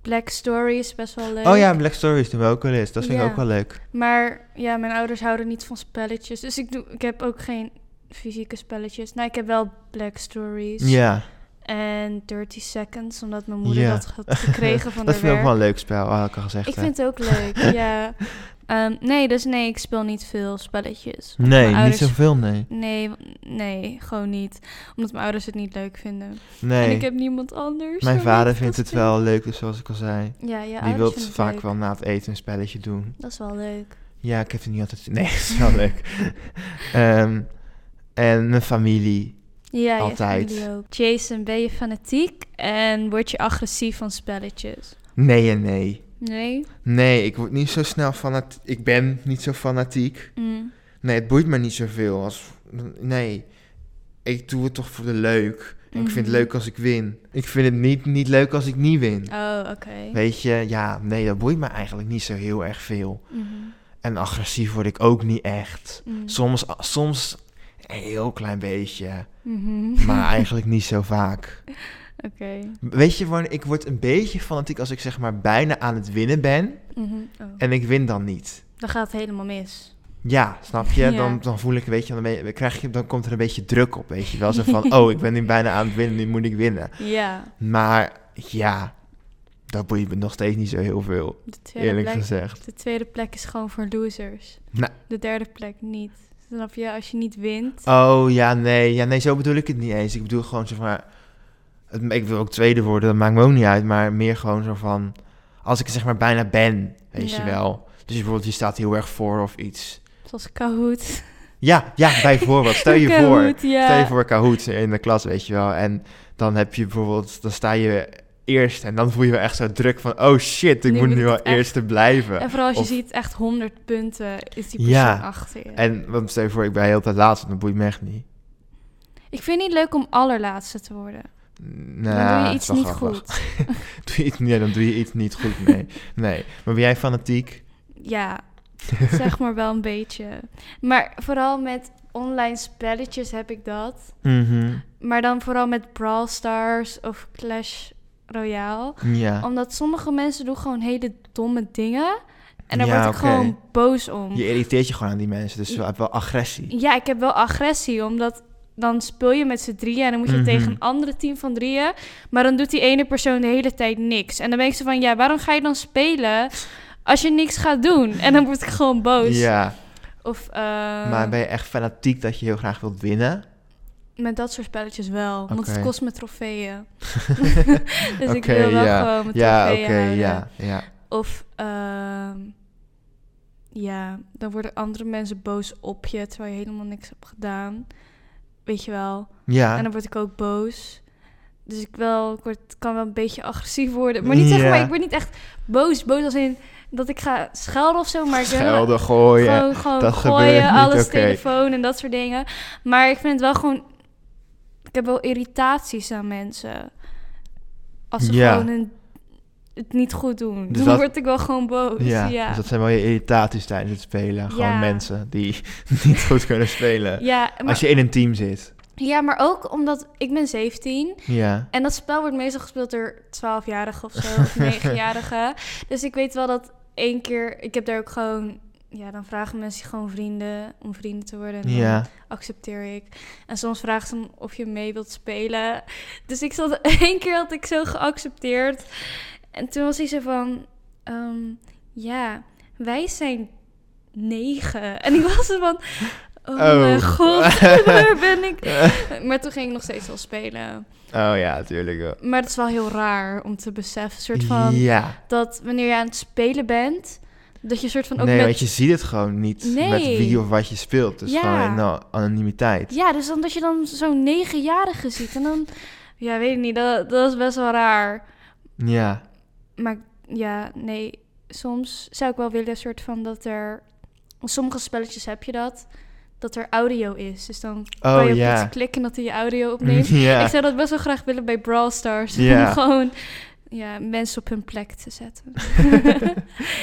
B: Black Stories best wel leuk.
A: Oh ja, Black Stories doen we ook wel eens. Dat vind ik
B: Ja.
A: ook wel leuk.
B: Maar ja, mijn ouders houden niet van spelletjes. Dus ik, doe, ik heb ook geen fysieke spelletjes. Nou, ik heb wel Black Stories.
A: Ja,
B: En 30 Seconds, omdat mijn moeder
A: Ja.
B: dat had gekregen van
A: dat
B: haar
A: vind ik ook
B: werk.
A: wel een leuk spel, had ik al gezegd.
B: Ik
A: hè.
B: vind het ook leuk, ja. Ehm, nee, dus nee, ik speel niet veel spelletjes. Omdat mijn
A: nee, niet
B: ouders-
A: zoveel, nee.
B: Nee, w- nee, gewoon niet. Omdat mijn ouders het niet leuk vinden.
A: Nee.
B: En ik heb niemand anders.
A: Mijn
B: waarmee
A: vader
B: ik
A: vindt
B: dat
A: het
B: speel.
A: wel leuk, dus zoals ik al zei.
B: Ja, ja,
A: die
B: ouders
A: wil
B: vinden het
A: vaak
B: leuk.
A: wel na het eten een spelletje doen.
B: Dat is wel leuk.
A: Ja, ik heb het niet altijd... Nee, dat is wel leuk. Ehm, en mijn familie.
B: Ja, ja,
A: Altijd.
B: jullie ook. Jason, ben je fanatiek en word je agressief van spelletjes?
A: Nee en nee.
B: Nee?
A: Nee, ik word niet zo snel fanatiek. Ik ben niet zo fanatiek.
B: Mm.
A: Nee, het boeit me niet zoveel. Als... Nee, ik doe het toch voor de leuk. En ik vind het
B: Mhm.
A: leuk als ik win. Ik vind het niet, niet leuk als ik niet win.
B: Oh, oké.
A: Weet je, ja, nee, dat boeit me eigenlijk niet zo heel erg veel.
B: Mhm.
A: En agressief word ik ook niet echt.
B: Mm.
A: Soms, soms een heel klein beetje,
B: Mhm.
A: maar eigenlijk niet zo vaak.
B: Oké.
A: Weet je, wanneer- ik word een beetje fanatiek als ik zeg maar bijna aan het winnen ben
B: Mhm. Oh.
A: en ik win dan niet.
B: Dan gaat het helemaal mis.
A: Ja, snap je?
B: Ja.
A: Dan, dan voel ik een beetje, dan, ben je- dan krijg je, dan komt er een beetje druk op, weet je wel. Zo van, oh, ik ben nu bijna aan het winnen, nu moet ik winnen.
B: Ja.
A: Maar ja, dat boeit me nog steeds niet zo heel veel,
B: De tweede,
A: eerlijk
B: plek,
A: gezegd.
B: de tweede plek is gewoon voor losers.
A: Nou.
B: De derde plek niet. Snap je? Als je niet wint.
A: Oh ja, nee. Ja, nee, zo bedoel ik het niet eens. Ik bedoel gewoon zo van. Het, ik wil ook tweede worden, dat maakt me ook niet uit. Maar meer gewoon zo van. Als ik er zeg maar bijna ben, weet
B: Ja.
A: je wel. Dus bijvoorbeeld, je staat heel erg voor of iets.
B: Zoals Kahoot.
A: Ja, ja, bijvoorbeeld. Stel je voor.
B: Kahoot, ja.
A: Stel je voor Kahoot in de klas, weet je wel. En dan heb je bijvoorbeeld, dan sta je eerst en dan voel je wel echt zo druk van, oh shit, ik
B: Nu
A: moet
B: moet
A: nu
B: ik
A: wel
B: het echt-
A: eerste blijven.
B: En vooral als je
A: Of-
B: ziet echt 100 punten is die persoon
A: Ja.
B: achter je.
A: En want stel je voor, ik ben heel tijd laatst, dan boeit me echt niet.
B: Ik vind het niet leuk om allerlaatste te worden.
A: Nou,
B: dan doe je iets
A: wacht,
B: niet
A: wacht, wacht.
B: goed.
A: Doe je iets, nee, dan doe je iets niet goed, nee. nee. Maar ben jij fanatiek?
B: Ja, zeg maar wel een beetje. Maar vooral met online spelletjes heb ik dat.
A: Mhm.
B: Maar dan vooral met Brawl Stars of Clash Royale.
A: Ja.
B: Omdat sommige mensen doen gewoon hele domme dingen. En daar
A: Ja,
B: word ik
A: oké.
B: gewoon boos om.
A: Je irriteert je gewoon aan die mensen, dus je hebt wel agressie.
B: Ja, ik heb wel agressie, omdat dan speel je met z'n drieën en dan moet je
A: Mhm.
B: tegen een andere team van drieën. Maar dan doet die ene persoon de hele tijd niks. En dan ben ik zo van, ja, waarom ga je dan spelen als je niks gaat doen? En dan word ik gewoon boos.
A: Ja,
B: Of eh,
A: maar ben je echt fanatiek dat je heel graag wilt winnen?
B: met dat soort spelletjes wel, want het
A: Oké.
B: kost me trofeeën. dus ik
A: Oké,
B: wil wel
A: ja.
B: gewoon mijn
A: Ja, oké,
B: trofeeën houden.
A: ja, ja.
B: Of ehm, ja, dan worden andere mensen boos op je terwijl je helemaal niks hebt gedaan. Weet je wel. En
A: Ja,
B: dan word ik ook boos. Dus ik, wel, ik word, kan wel een beetje agressief worden. Maar niet zeg maar,
A: Ja.
B: ik word niet echt boos. Boos als in dat ik ga schelden of zo. Maar ik ben wel
A: schelden, gooien.
B: gewoon, gewoon
A: dat gebeurt
B: gooien,
A: niet,
B: alles,
A: oké.
B: telefoon en dat soort dingen. Maar ik vind het wel gewoon... Ik heb wel irritaties aan mensen. Als ze
A: Ja.
B: gewoon hun- het niet goed doen.
A: Dus
B: Dan
A: dat-
B: word ik wel gewoon boos. Ja,
A: Ja,
B: ja.
A: dus dat zijn wel je irritaties tijdens het spelen. Gewoon
B: Ja.
A: mensen die niet goed kunnen spelen.
B: maar,
A: Als je in een team zit.
B: ja, maar ook omdat ik ben 17...
A: Ja.
B: En dat spel wordt meestal gespeeld door 12-jarigen of zo, of 9-jarigen. Dus ik weet wel dat één keer, ik heb daar ook gewoon, ja, dan vragen mensen gewoon vrienden om vrienden te worden. En dan
A: Ja.
B: accepteer ik. En soms vragen ze me of je mee wilt spelen. Dus ik zat, één keer had ik zo geaccepteerd. En toen was hij zo van, ehm, ja, wij zijn negen. En ik was er van, oh,
A: Oh.
B: mijn god, waar ben ik? Maar toen ging ik nog steeds wel spelen.
A: Oh ja, tuurlijk wel.
B: Maar het is wel heel raar om te beseffen, soort van,
A: Ja.
B: dat wanneer je aan het spelen bent, dat je soort van ook
A: Nee,
B: met...
A: want je ziet het gewoon niet met
B: Nee.
A: wie of wat je speelt. Dus
B: Ja.
A: gewoon in de anonimiteit.
B: Ja, dus dan dat je dan zo'n negenjarige ziet en dan... Ja, weet ik niet, dat, dat is best wel raar.
A: Ja.
B: Maar ja, nee, soms zou ik wel willen, soort van, dat er... Sommige spelletjes heb je dat, dat er audio is. Dus dan kan
A: Oh
B: je op
A: ja.
B: iets klikken dat hij je audio opneemt.
A: ja.
B: Ik zou dat best wel graag willen bij Brawl Stars.
A: Ja.
B: Om gewoon ja, mensen op hun plek te zetten.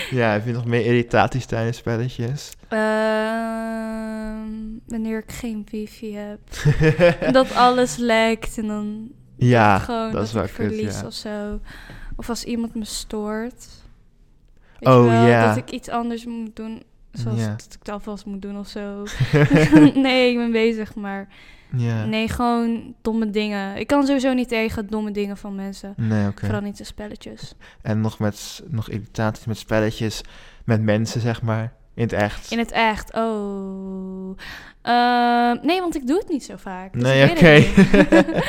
A: ja, heb je nog meer irritaties tijdens spelletjes?
B: Ehm, wanneer ik geen wifi heb. dat alles lekt en dan
A: ja,
B: gewoon
A: dat
B: dat,
A: is wel
B: ik
A: kut,
B: verlies
A: ja.
B: of zo. Of als iemand me stoort. Weet
A: Oh,
B: je wel,
A: ja.
B: Dat ik iets anders moet doen. Zoals
A: Ja.
B: dat ik de afwas moet doen of zo. nee, ik ben bezig, maar...
A: ja. Nee,
B: Nee, gewoon domme dingen. Ik kan sowieso niet tegen domme dingen van mensen.
A: oké.
B: Vooral niet de spelletjes.
A: En nog, met, s- nog irritaties met spelletjes, met mensen, zeg maar, in het echt.
B: In het echt, oh. Ehm, nee, want ik doe het niet zo vaak. dus
A: nee,
B: ik
A: oké.
B: weet het niet.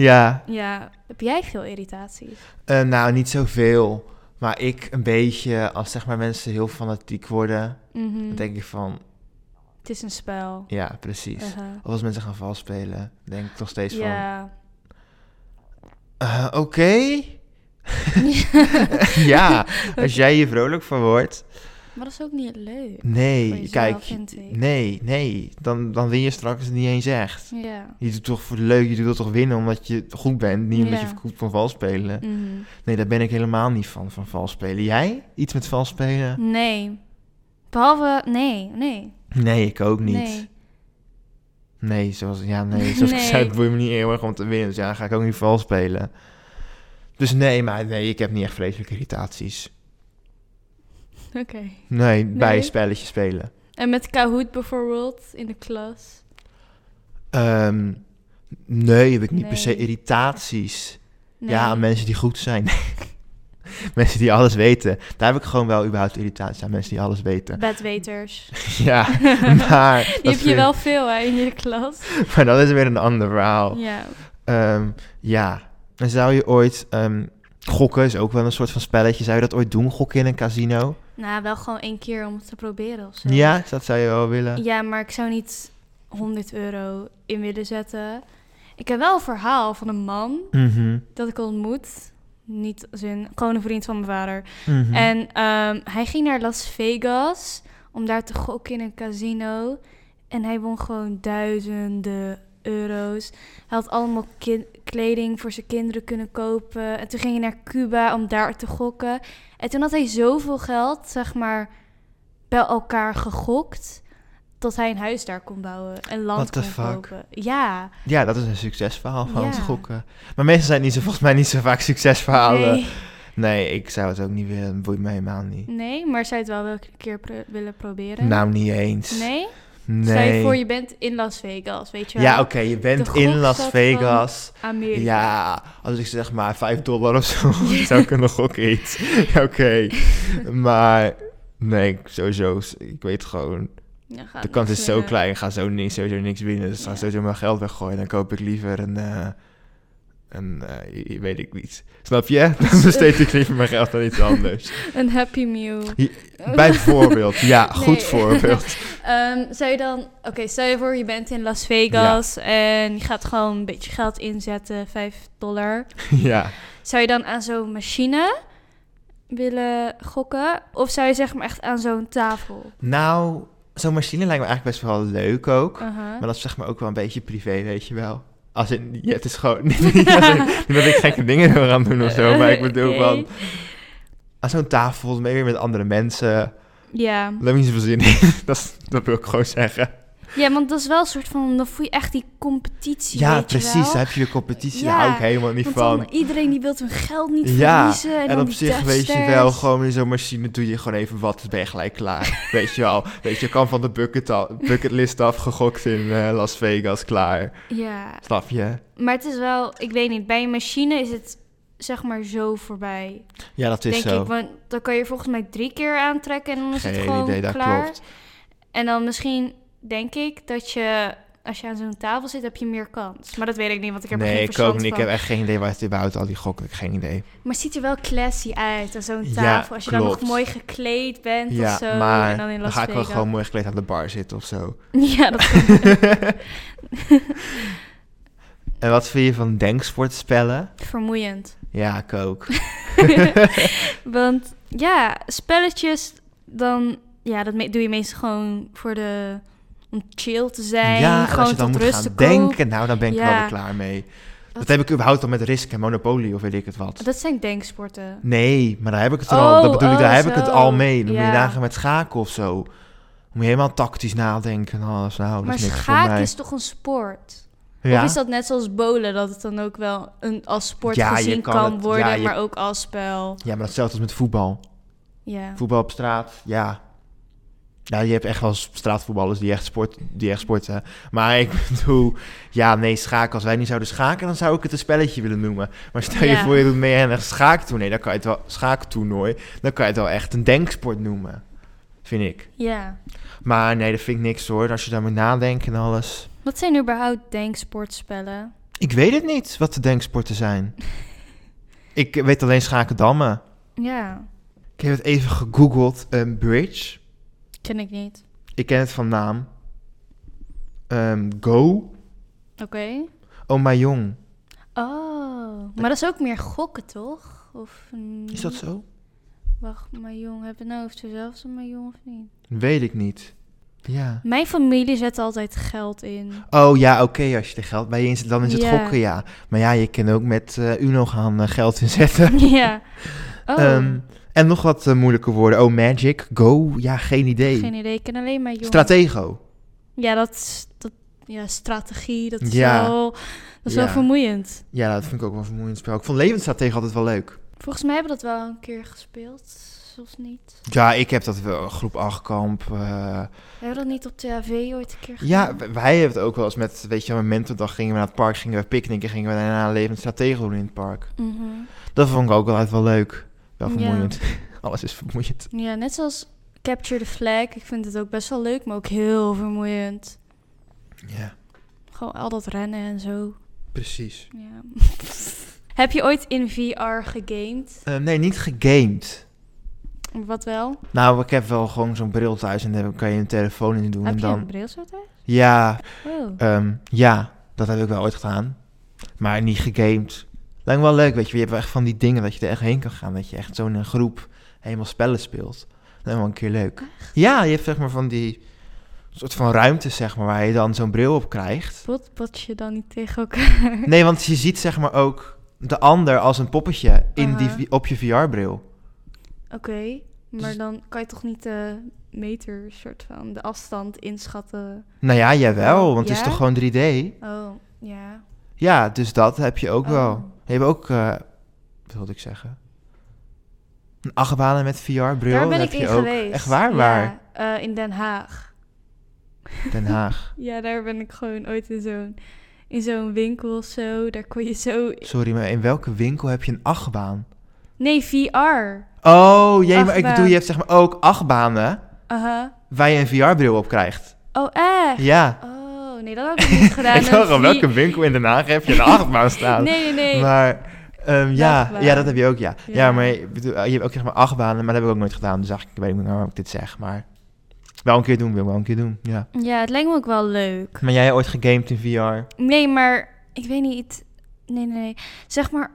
A: ja,
B: Ja, heb jij veel irritaties?
A: eh, nou, niet zoveel. Maar ik een beetje, als zeg maar mensen heel fanatiek worden,
B: Mhm.
A: dan denk ik van,
B: Het is een spel.
A: ja, precies.
B: Uh-huh.
A: Of als mensen gaan valspelen, denk ik nog steeds van,
B: Ja.
A: eh, oké. ja, als jij hier vrolijk van wordt,
B: Maar dat is ook niet leuk. voor
A: Nee,
B: jezelf,
A: kijk.
B: vind ik.
A: Nee, nee. Dan, dan win je straks niet eens echt.
B: Ja.
A: Je doet toch voor de leuk, je doet toch winnen omdat je goed bent, niet omdat
B: Ja.
A: je goed van vals spelen.
B: Mhm.
A: Nee, daar ben ik helemaal niet van, van vals spelen. Jij? Iets met vals spelen?
B: Nee. Behalve, nee, nee.
A: Nee, ik ook niet.
B: Nee.
A: Nee, zoals, ja, nee, zoals ik
B: Nee.
A: zei, het boeit me niet heel erg om te winnen. Dus ja, dan ga ik ook niet vals spelen. Dus nee, maar nee, ik heb niet echt vreselijke irritaties.
B: Oké.
A: Nee, bij
B: Nee?
A: spelletjes spelen.
B: En met Kahoot bijvoorbeeld in de klas.
A: Ehm, nee, heb ik niet per se
B: Nee.
A: irritaties.
B: Nee.
A: Ja, aan mensen die goed zijn. mensen die alles weten. Daar heb ik gewoon wel überhaupt irritaties aan, mensen die alles weten.
B: Bedweters.
A: ja, maar... dat
B: Die heb je
A: vind-
B: wel veel hè, in je klas.
A: Maar dat is weer een ander verhaal.
B: Ja.
A: Ehm, ja, dan zou je ooit... ehm, gokken is ook wel een soort van spelletje. Zou je dat ooit doen, gokken in een casino?
B: Nou, wel gewoon één keer om het te proberen of zo.
A: Ja, dat zou je wel willen.
B: Ja, maar ik zou niet 100 euro in willen zetten. Ik heb wel een verhaal van een man
A: Mhm,
B: dat ik ontmoet. Niet zin, gewoon een vriend van mijn vader.
A: mhm.
B: En ehm, hij ging naar Las Vegas om daar te gokken in een casino. En hij won gewoon duizenden euro's. Hij had allemaal kin- kleding voor zijn kinderen kunnen kopen. En toen ging hij naar Cuba om daar te gokken. En toen had hij zoveel geld, zeg maar, bij elkaar gegokt. Dat hij een huis daar kon bouwen. Een land
A: What the
B: kon
A: fuck?
B: kopen. Ja.
A: Ja, dat is een succesverhaal van het
B: Ja.
A: gokken. Maar meestal zijn het niet zo, volgens mij niet zo vaak succesverhalen. Nee.
B: Nee.
A: ik zou het ook niet willen. Boeit mij helemaal niet.
B: nee, maar zou je het wel wel een keer pro- willen proberen?
A: Nou, niet eens.
B: Nee?
A: Nee.
B: Stel je voor, je bent in Las Vegas, weet je wel?
A: Ja, oké, je bent in
B: gokstad
A: Las
B: van-
A: Vegas.
B: Amerika.
A: Ja, als ik zeg maar 5 dollar of zo zou kunnen gokken iets. Ja, oké. Maar nee, ik- sowieso, ik weet gewoon,
B: Ja, dus, eh, gaat
A: de kans
B: niks
A: is zo
B: winnen.
A: klein. Ik ga zo niks, sowieso niks winnen. Dus ik ga
B: Ja.
A: sowieso mijn geld weggooien. Dan koop ik liever een, eh, een eh, weet ik niet. Snap je? Dan besteed ik liever mijn geld aan iets anders.
B: Een Happy Meal.
A: Bijvoorbeeld, ja, goed
B: Nee.
A: voorbeeld.
B: Ehm, zou je dan... Oké, stel je voor, je bent in Las Vegas en je gaat gewoon een beetje geld inzetten, 5 dollar.
A: ja.
B: Zou je dan aan zo'n machine willen gokken? Of zou je zeg maar echt aan zo'n tafel?
A: Nou, zo'n machine lijkt me eigenlijk best wel leuk ook.
B: Aha.
A: Maar dat is zeg maar ook wel een beetje privé, weet je wel. Als in, ja, het is gewoon niet, niet als in- niet dat ik gekke dingen wil gaan doen of zo, maar ik bedoel
B: Eh, Oké.
A: van... Aan zo'n tafel, mee weer met andere mensen.
B: Ja.
A: Daar heb ik niet zoveel zin in. dat, is- dat wil ik gewoon zeggen.
B: ja, want dat is wel een soort van... Dan voel je echt die competitie,
A: ja,
B: weet
A: precies.
B: Je wel?
A: Daar heb je de competitie,
B: Ja,
A: daar hou ik helemaal niet
B: Want
A: van.
B: dan iedereen die wil hun geld niet
A: Ja,
B: verliezen.
A: en
B: En, dan
A: op
B: die
A: zich weet je
B: deathstares.
A: wel, gewoon in zo'n machine doe je gewoon even wat, dan ben je gelijk klaar. weet je wel, weet je, kan van de bucket al- bucketlist afgegokt in eh, Las Vegas, klaar.
B: Ja,
A: Snap je?
B: Maar het is wel, ik weet niet, bij een machine is het zeg maar zo voorbij.
A: Ja, dat is
B: denk
A: zo.
B: ik, want dan kan je er volgens mij drie keer aantrekken en dan is het
A: Geen
B: gewoon
A: idee, dat
B: klaar.
A: klopt.
B: En dan misschien denk ik dat je, als je aan zo'n tafel zit, heb je meer kans. Maar dat weet ik niet, want ik heb er
A: nee,
B: geen
A: ik ook
B: verstand
A: niet. Ik
B: van.
A: heb echt geen idee waar het überhaupt al die gokken. Ik heb geen idee.
B: Maar het ziet er wel classy uit aan zo'n
A: Ja,
B: tafel. als je dan nog
A: klopt.
B: mooi gekleed bent of
A: ja,
B: zo.
A: maar
B: en dan in Las
A: ga ik wel
B: Vegas.
A: gewoon mooi gekleed aan de bar zitten of zo.
B: Ja, dat kan.
A: en wat vind je van denksportspellen?
B: vermoeiend.
A: Ja, ik ook.
B: Want ja, spelletjes, dan, ja, dat me- doe je meestal gewoon voor de, om chill te zijn.
A: ja, en
B: gewoon
A: als je dan
B: tot
A: moet
B: rust
A: gaan
B: te komen.
A: denken, nou, dan ben ik wel
B: Ja.
A: weer klaar mee. Dat heb ik überhaupt al met Risk en Monopoly of weet ik het wat.
B: Dat zijn
A: Nou,
B: denksporten.
A: Nee, maar daar heb ik het er
B: Oh,
A: al. Dat bedoel ik, daar
B: oh,
A: heb ik het al
B: zo.
A: mee. Dan moet je
B: Ja.
A: dagen met schaken of zo. Moet je helemaal tactisch nadenken en alles. Nou, dat
B: maar
A: is niks voor
B: schaak
A: mij.
B: is toch een sport?
A: ja?
B: Of is dat net zoals bowlen, dat het dan ook wel een, als sport
A: Ja, je
B: gezien
A: kan
B: kan,
A: het-
B: worden,
A: ja, je-
B: maar ook als
A: ja,
B: spel?
A: maar dat is hetzelfde als met voetbal.
B: Ja.
A: Voetbal op straat, ja. Ja, je hebt echt wel straatvoetballers die echt, sport, die echt sporten. Maar ik bedoel, ja, nee, schaken. Als wij niet zouden schaken, dan zou ik het een spelletje willen noemen. Maar stel je
B: Ja.
A: voor, je doet mee aan een schaaktoernooi. Dan kan je het wel, schaaktoernooi, dan kan je het wel echt een denksport noemen. Vind ik.
B: ja.
A: Maar nee, dat vind ik niks hoor. Als je daar moet nadenken en alles.
B: Wat zijn überhaupt denksportspellen?
A: Ik weet het niet, wat de denksporten zijn. ik weet alleen schaken dammen.
B: Ja,
A: Ik heb het even gegoogeld. Een bridge.
B: ken ik niet.
A: Ik ken het van naam. Ehm, Go.
B: Oké.
A: Oh, my jong.
B: Oh, maar dat is ook meer gokken, toch? Of,
A: Is dat zo?
B: Wacht, Mahjong. Hebben we nou over zelfs een Mahjong of niet?
A: Weet ik niet. Ja.
B: Mijn familie zet altijd geld in.
A: Oh ja, oké, als je er geld bij in zit, dan is het
B: Ja.
A: gokken, ja. Maar ja, je kan ook met eh, Uno gaan eh, geld inzetten.
B: ja. Oh,
A: Ehm, en nog wat eh, moeilijke woorden. Oh, Magic, Go, ja, geen idee.
B: geen idee. Ik ken alleen Mahjong.
A: Stratego.
B: ja, dat, is- dat ja, strategie, dat is,
A: Ja.
B: wel, dat is
A: Ja.
B: wel vermoeiend.
A: Ja, dat vind ik ook wel een vermoeiend spel. Ik vond levensstratego altijd wel leuk.
B: Volgens mij hebben we dat wel een keer gespeeld, of niet?
A: Ja, ik heb dat wel, groep 8 kamp. eh,
B: We hebben dat niet op de AV ooit een keer
A: ja,
B: gedaan.
A: w- wij hebben het ook wel eens met, weet je, mijn mentordag gingen we naar het park, gingen we picknicken, gingen we daarna een levensstratego doen in het park.
B: Mhm.
A: Dat vond ik ook altijd wel leuk. Wel
B: Ja.
A: vermoeiend. Alles is vermoeiend.
B: Ja, net zoals Capture the Flag. Ik vind het ook best wel leuk, maar ook heel vermoeiend.
A: Ja,
B: Gewoon al dat rennen en zo.
A: precies.
B: Ja. Heb je ooit in VR gegamed?
A: Eh, nee, niet gegamed.
B: Wat wel?
A: Nou, ik heb wel gewoon zo'n bril thuis en dan kan je een telefoon in doen.
B: Heb
A: en
B: je
A: dan...
B: een bril zo thuis?
A: Ja,
B: Oh.
A: ehm, ja, dat heb ik wel ooit gedaan. Maar niet gegamed. Lijkt me wel leuk, weet je. Je hebt wel echt van die dingen dat je er echt heen kan gaan. Dat je echt zo'n eh, groep helemaal spellen speelt. Dat is wel een keer leuk. Ja, je hebt zeg maar van die soort van ruimtes, zeg maar, waar je dan zo'n bril op krijgt.
B: Bot, bot je dan niet tegen elkaar?
A: Nee, want je ziet zeg maar ook de ander als een poppetje in die,
B: Aha.
A: vi- op je VR-bril.
B: Oké, maar dan kan je toch niet de meter, soort van, de afstand inschatten?
A: Nou ja, jawel, want het
B: Oh, Ja?
A: is toch gewoon 3D?
B: Oh, ja.
A: Ja, dus dat heb je ook
B: Oh.
A: wel. Je hebt ook, eh, wat wilde ik zeggen? Een achtbaan met VR-bril.
B: Daar ben
A: heb
B: ik
A: je
B: in
A: ook.
B: geweest.
A: Echt waar, waar?
B: Ja, eh, in Den Haag.
A: Den Haag.
B: Ja, daar ben ik gewoon ooit in zo'n in zo'n winkel of zo. Daar kon je zo.
A: Sorry, maar in welke winkel heb je een achtbaan?
B: Nee, VR.
A: Oh, jee, maar ik
B: Achtbaan.
A: bedoel, je hebt zeg maar ook achtbanen
B: Aha.
A: waar je een VR-bril op krijgt.
B: Uh-huh. Oh, echt?
A: Ja.
B: Oh, nee, dat had ik nog niet gedaan.
A: ik dacht
B: Een
A: al,
B: vi-
A: welke winkel in Den Haag heb je een achtbaan staan?
B: Nee, nee, nee.
A: Maar ehm, ja,
B: Achtbaan.
A: ja, dat heb je ook, ja. Ja,
B: Ja.
A: maar ik bedoel, eh, je hebt ook zeg maar achtbanen, maar dat heb ik ook nooit gedaan. Dus eigenlijk ik weet niet waarom ik dit zeg, maar wel een keer doen, wil ik wel een keer doen, ja.
B: Ja, het lijkt me ook wel leuk.
A: Maar jij hebt ooit gegamed in VR?
B: Nee, maar ik weet niet. Nee, nee, nee. Zeg maar,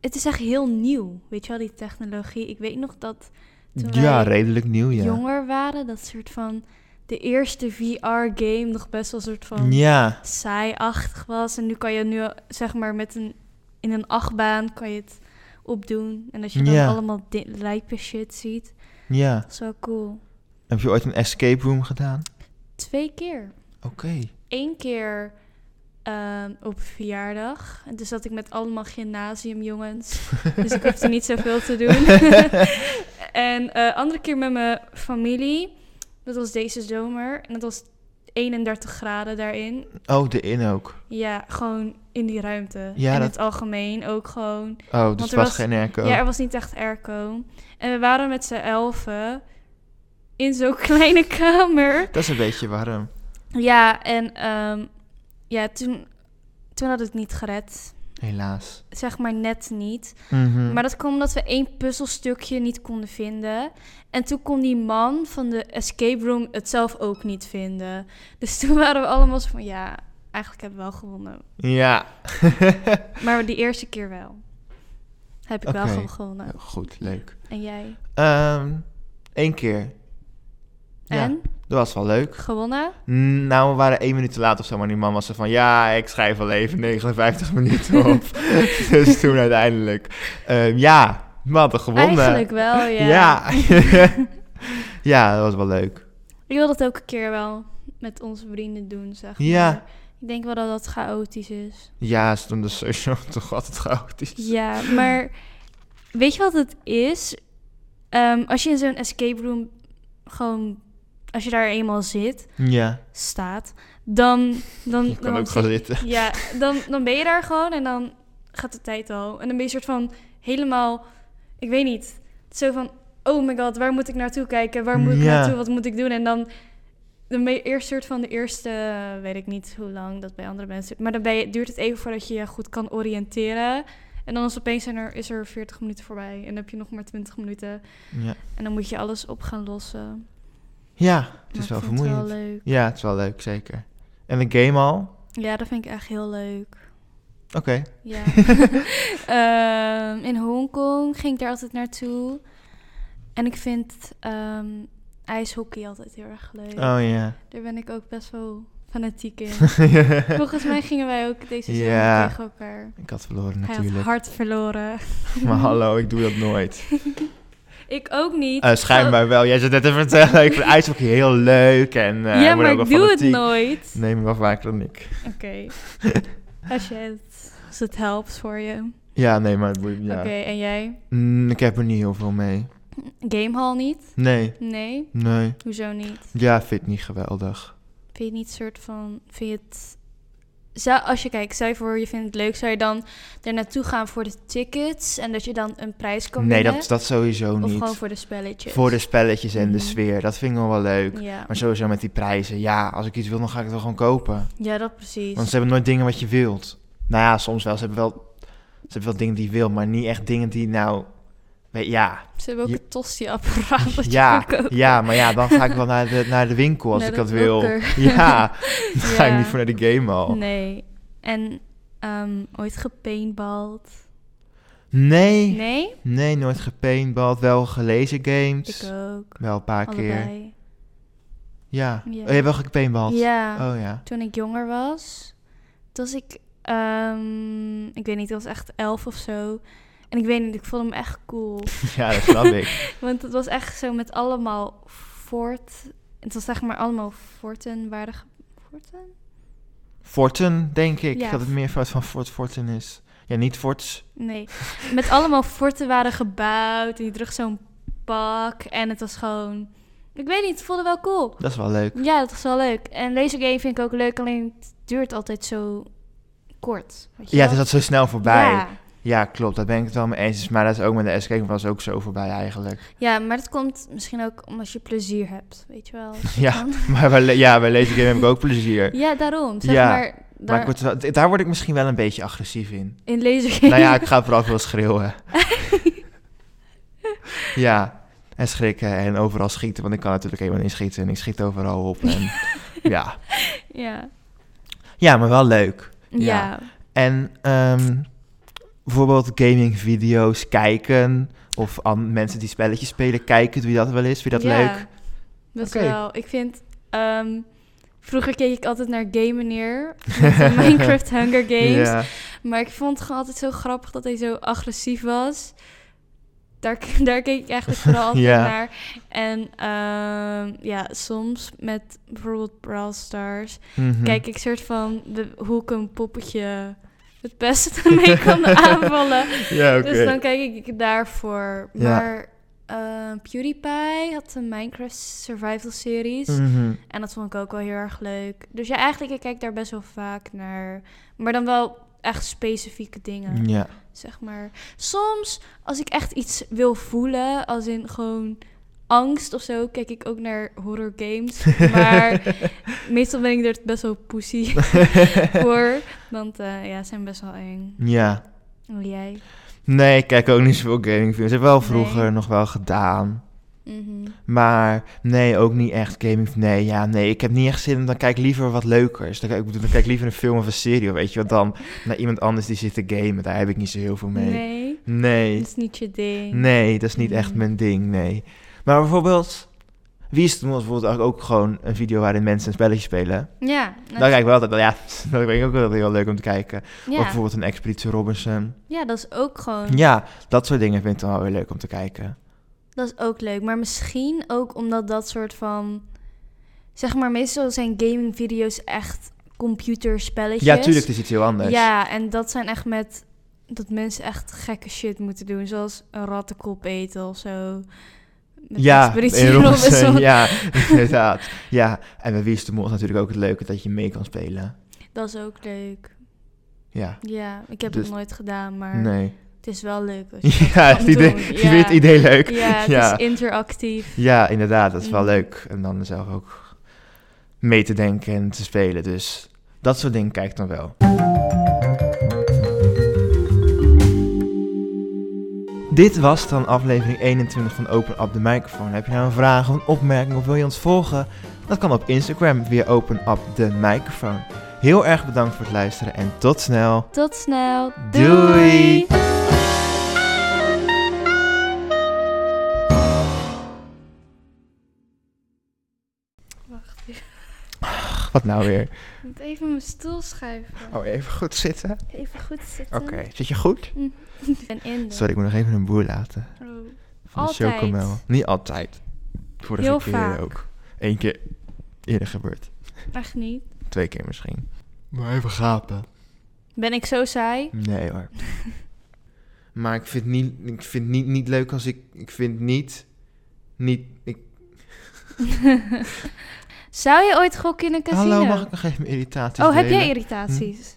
B: het is echt heel nieuw. Weet je wel, die technologie. Ik weet nog dat toen
A: ja,
B: wij
A: redelijk nieuw, Oh, ja.
B: jonger waren, dat soort van de eerste VR-game nog best wel een soort van.
A: Ja,
B: saai-achtig was. En nu kan je nu, zeg maar, met een, in een achtbaan kan je het opdoen. En dat je dan
A: Ja.
B: allemaal di- lijpe shit ziet.
A: ja.
B: Dat is wel cool.
A: Heb je ooit een escape room gedaan?
B: Twee keer.
A: Oké.
B: Eén keer ehm, op verjaardag. En toen zat ik met allemaal gymnasiumjongens. dus ik hoefde niet zoveel te doen. en eh andere keer met mijn familie. Dat was deze zomer. En dat was 31 graden daarin.
A: Oh, de in ook.
B: Ja, gewoon in die ruimte.
A: Ja,
B: en in
A: dat-
B: het algemeen ook gewoon.
A: Oh, dus
B: Want
A: het
B: er
A: was
B: was-
A: geen airco.
B: Ja, er was niet echt airco. En we waren met z'n elfen in zo'n kleine kamer.
A: Dat is een beetje warm.
B: Ja, en ehm, ja, toen, toen had het niet gered.
A: Helaas.
B: Zeg maar net niet.
A: Mhm.
B: Maar dat kwam omdat we één puzzelstukje niet konden vinden. En toen kon die man van de escape room het zelf ook niet vinden. Dus toen waren we allemaal zo van, ja, eigenlijk hebben we wel gewonnen.
A: Ja.
B: Maar die eerste keer wel. Heb ik
A: Oké.
B: wel gewonnen.
A: Goed, leuk.
B: En jij?
A: Eén keer. Ja.
B: En?
A: Dat was wel leuk.
B: Gewonnen?
A: Mm, Nou, we waren één minuut te laat of zo, maar die man was er van... Ja, ik schrijf al even 59 minuten op. dus toen uiteindelijk... ehm, ja, we hadden gewonnen.
B: Eigenlijk wel, ja.
A: Ja. ja, dat was wel leuk.
B: Ik wil dat ook een keer wel met onze vrienden doen, zeg maar.
A: Ja.
B: Ik denk wel dat dat chaotisch is.
A: Ja, stond de sowieso toch altijd chaotisch.
B: Ja, maar weet je wat het is? Ehm, als je in zo'n escape room gewoon... Als je daar eenmaal zit,
A: Ja,
B: staat, dan... dan
A: je kan
B: dan
A: ook gaan zitten.
B: Ja, dan, dan ben je daar gewoon en dan gaat de tijd al. En dan ben je soort van helemaal, ik weet niet, zo van, oh my god, waar moet ik naartoe kijken? Waar moet ik
A: Ja.
B: naartoe? Wat moet ik doen? En dan, dan ben je eerst soort van de eerste, eh, weet ik niet hoe lang dat bij andere mensen, maar dan ben je, duurt het even voordat je je goed kan oriënteren. En dan is opeens zijn er, is er 40 minuten voorbij en dan heb je nog maar 20 minuten.
A: Ja,
B: En dan moet je alles op gaan lossen.
A: ja het
B: Maar
A: is
B: ik
A: wel
B: vind
A: vermoeiend.
B: wel leuk.
A: ja, het is wel leuk, zeker. En de game al?
B: Ja, dat vind ik echt heel leuk.
A: Oké.
B: Ja. Ehm, in Hongkong ging ik daar altijd naartoe. En ik vind ehm, ijshockey altijd heel erg leuk.
A: Oh ja.
B: Daar ben ik ook best wel fanatiek in.
A: Ja.
B: Volgens mij gingen wij ook deze zomer
A: Ja,
B: tegen elkaar.
A: Ik had verloren
B: Hij had
A: natuurlijk.
B: hard verloren.
A: Maar hallo, ik doe dat nooit.
B: Ik ook niet. Oh.
A: Eh schijnbaar wel. Jij zit net te vertellen. Ik vind ijshockey heel leuk. En, eh,
B: ja,
A: ik ben
B: maar
A: ook wel
B: ik doe het
A: fanatiek.
B: nooit.
A: Nee, maar wel vaker dan ik.
B: Oké. Als je het, als het helpt voor je.
A: Ja, nee, maar het boeit ja.
B: Oké, en jij?
A: Mm, ik heb er niet heel veel mee.
B: Gamehall niet?
A: Nee,
B: Nee.
A: nee.
B: Hoezo niet?
A: Ja, vind ik niet geweldig.
B: Vind je het niet soort van... Vind je het... Zou, als je kijkt, zou je voor je vindt het leuk, zou je dan er naartoe gaan voor de tickets en dat je dan een prijs kan
A: nee,
B: winnen?
A: dat, dat sowieso
B: Of
A: niet.
B: gewoon voor de spelletjes?
A: Voor de spelletjes en de
B: Mhm.
A: sfeer. Dat vind ik wel wel leuk.
B: Ja.
A: Maar sowieso met die prijzen. Ja, als ik iets wil, dan ga ik het wel gewoon kopen.
B: ja, dat precies.
A: Want ze hebben nooit dingen wat je wilt. Nou ja, soms wel. Ze hebben wel, ze hebben wel dingen die je wil, maar niet echt dingen die nou... weet- Ja,
B: Ze hebben ook
A: Je-
B: een tosti-apparaat dat je
A: ja,
B: kan kopen.
A: ja, maar ja, dan ga ik wel naar de, naar de winkel als
B: Naar
A: ik
B: de
A: dat wil.
B: blokker.
A: Ja, dan ga ik
B: Ja.
A: niet voor naar de game al.
B: Nee. En ehm, ooit gepaintbald?
A: Nee, nee,
B: Nee?
A: nooit gepainbald. Wel gelezen games.
B: Ik ook.
A: Wel een paar keer.
B: Allebei.
A: Ja.
B: Ja.
A: Oh, je hebt wel gepainbald?
B: Ja.
A: Oh ja.
B: Toen ik jonger was, toen was ik, ehm, ik weet niet, ik was echt elf of zo. En ik weet niet, ik vond hem echt cool.
A: Ja, dat snap ik.
B: Want het was echt zo met allemaal fort. Het was zeg maar allemaal forten waardig. Forten?
A: Forten, denk ik.
B: Ja.
A: Dat het meervoud van Fort Forten is. Ja, niet Forts.
B: Nee. Met allemaal forten waren gebouwd. En die droeg zo'n pak. En het was gewoon. Ik weet niet, het voelde wel cool.
A: Dat is wel leuk.
B: Ja, dat was wel leuk. En laser game vind ik ook leuk, alleen het duurt altijd zo kort. weet je
A: Ja, het
B: wel?
A: is dat zo snel voorbij. Ja.
B: Ja.
A: klopt. Daar ben ik het wel mee eens. Maar dat is ook met de escape room was ook zo voorbij eigenlijk.
B: Ja, maar dat komt misschien ook omdat je plezier hebt, weet je wel.
A: Ja, maar bij, le- ja, bij Laser Game heb ik ook plezier.
B: Ja, daarom. Zeg
A: Ja,
B: maar,
A: Maar
B: daar,
A: ik word wel- d- daar word ik misschien wel een beetje agressief in.
B: in lasergame.
A: nou ja, ik ga vooral veel schreeuwen. ja, en schrikken en overal schieten. Want ik kan natuurlijk helemaal niet schieten. En ik schiet overal op. En, ja.
B: ja.
A: ja, maar wel leuk. Ja.
B: Ja.
A: En ehm, bijvoorbeeld gamingvideo's kijken. Of an- mensen die spelletjes spelen kijken. Doe je dat wel eens? Vind je dat
B: Ja,
A: leuk?
B: Dat is
A: Oké.
B: wel. Ik vind... ehm, vroeger keek ik altijd naar Game Meneer. met de Minecraft Hunger Games.
A: Ja.
B: Maar ik vond het gewoon altijd zo grappig dat hij zo agressief was. Daar, k- daar keek ik eigenlijk vooral altijd
A: Ja.
B: naar. En ehm, ja, soms met bijvoorbeeld Brawl Stars...
A: Mhm.
B: kijk ik soort van de, hoe ik een poppetje het beste mee kan aanvallen.
A: Ja, oké.
B: Dus dan kijk ik daarvoor.
A: Ja.
B: Maar eh, PewDiePie had een Minecraft survival series.
A: Mhm.
B: En dat vond ik ook wel heel erg leuk. Dus ja, eigenlijk ik kijk daar best wel vaak naar. Maar dan wel echt specifieke dingen,
A: Ja.
B: zeg maar. Soms, als ik echt iets wil voelen, als in gewoon angst of zo, kijk ik ook naar horror games. Maar meestal ben ik er best wel poesie voor. Want eh, ja, ze zijn best wel eng.
A: ja.
B: En jij?
A: Nee, ik kijk ook niet zoveel gamingfilms. Ik heb wel vroeger
B: Nee.
A: nog wel gedaan.
B: Mhm.
A: Maar nee, ook niet echt gaming. Nee, ja, nee. Ik heb niet echt zin in. Dan kijk ik liever wat leukers. Dan kijk ik bedoel, dan kijk ik liever een film of een serie. Weet je wat dan? Naar iemand anders die zit te gamen. Daar heb ik niet zo heel veel mee.
B: Nee,
A: Nee.
B: dat is niet je ding.
A: Nee, dat is niet echt
B: Mm.
A: mijn ding. Nee. Maar bijvoorbeeld. Wie is het was bijvoorbeeld eigenlijk ook gewoon een video waarin mensen een spelletje spelen?
B: Ja,
A: Dan kijk ik wel altijd, Nou ja, dat vind ik ook wel heel leuk om te kijken. Of
B: ja. Oh.
A: bijvoorbeeld een Expeditie Robinson.
B: ja, dat is ook gewoon...
A: Ja, dat soort dingen vind ik dan wel weer leuk om te kijken.
B: Dat is ook leuk. Maar misschien ook omdat dat soort van... Zeg maar, meestal zijn gaming-video's echt computerspelletjes.
A: Ja, tuurlijk, het is iets heel anders.
B: Ja, en dat zijn echt met... Dat mensen echt gekke shit moeten doen. Zoals een rattenkop eten of zo. Met
A: ja,
B: Expeditie
A: in Robinson,
B: Robinson.
A: Ja, inderdaad. Ja, en bij Wie is de Mol is natuurlijk ook het leuke dat je mee kan spelen.
B: Dat is ook leuk.
A: Ja,
B: Ja, ik heb
A: Dus-
B: het nooit gedaan, maar
A: nee.
B: het is wel leuk. Als je
A: Ja,
B: dat
A: die,
B: kan
A: idee,
B: doen.
A: die vindt het idee leuk.
B: Ja, het
A: ja.
B: is interactief.
A: Ja, inderdaad, dat is wel
B: Mhm.
A: leuk. En dan zelf ook mee te denken en te spelen. Dus dat soort dingen kijk ik dan wel. Dit was dan aflevering 21 van Open Up de Microfoon. Heb je nou een vraag of een opmerking of wil je ons volgen? Dat kan op Instagram via Open Up de Microfoon. Heel erg bedankt voor het luisteren en tot snel.
B: Tot snel.
A: Doei.
B: Doei. Wacht, ik
A: Wat nou weer?
B: moet even mijn stoel schuiven.
A: Oh, even goed zitten.
B: Even goed zitten.
A: Oké, zit je goed?
B: Ik ben in. de-
A: Sorry, ik moet nog even een boer laten.
B: Oh.
A: Van de
B: Altijd.
A: chocomel. Niet altijd. Vorige
B: Heel
A: keer
B: vaak.
A: ook. Eén keer eerder gebeurd.
B: Echt niet.
A: Twee keer misschien. Maar even gapen.
B: Ben ik zo saai?
A: Nee hoor. maar ik vind niet, ik vind niet, niet leuk als ik... Ik vind niet... Niet... Ik,
B: Zou je ooit gokken in een casino?
A: hallo, mag ik nog even mijn irritaties
B: Oh, heb jij
A: delen? Hm.
B: irritaties?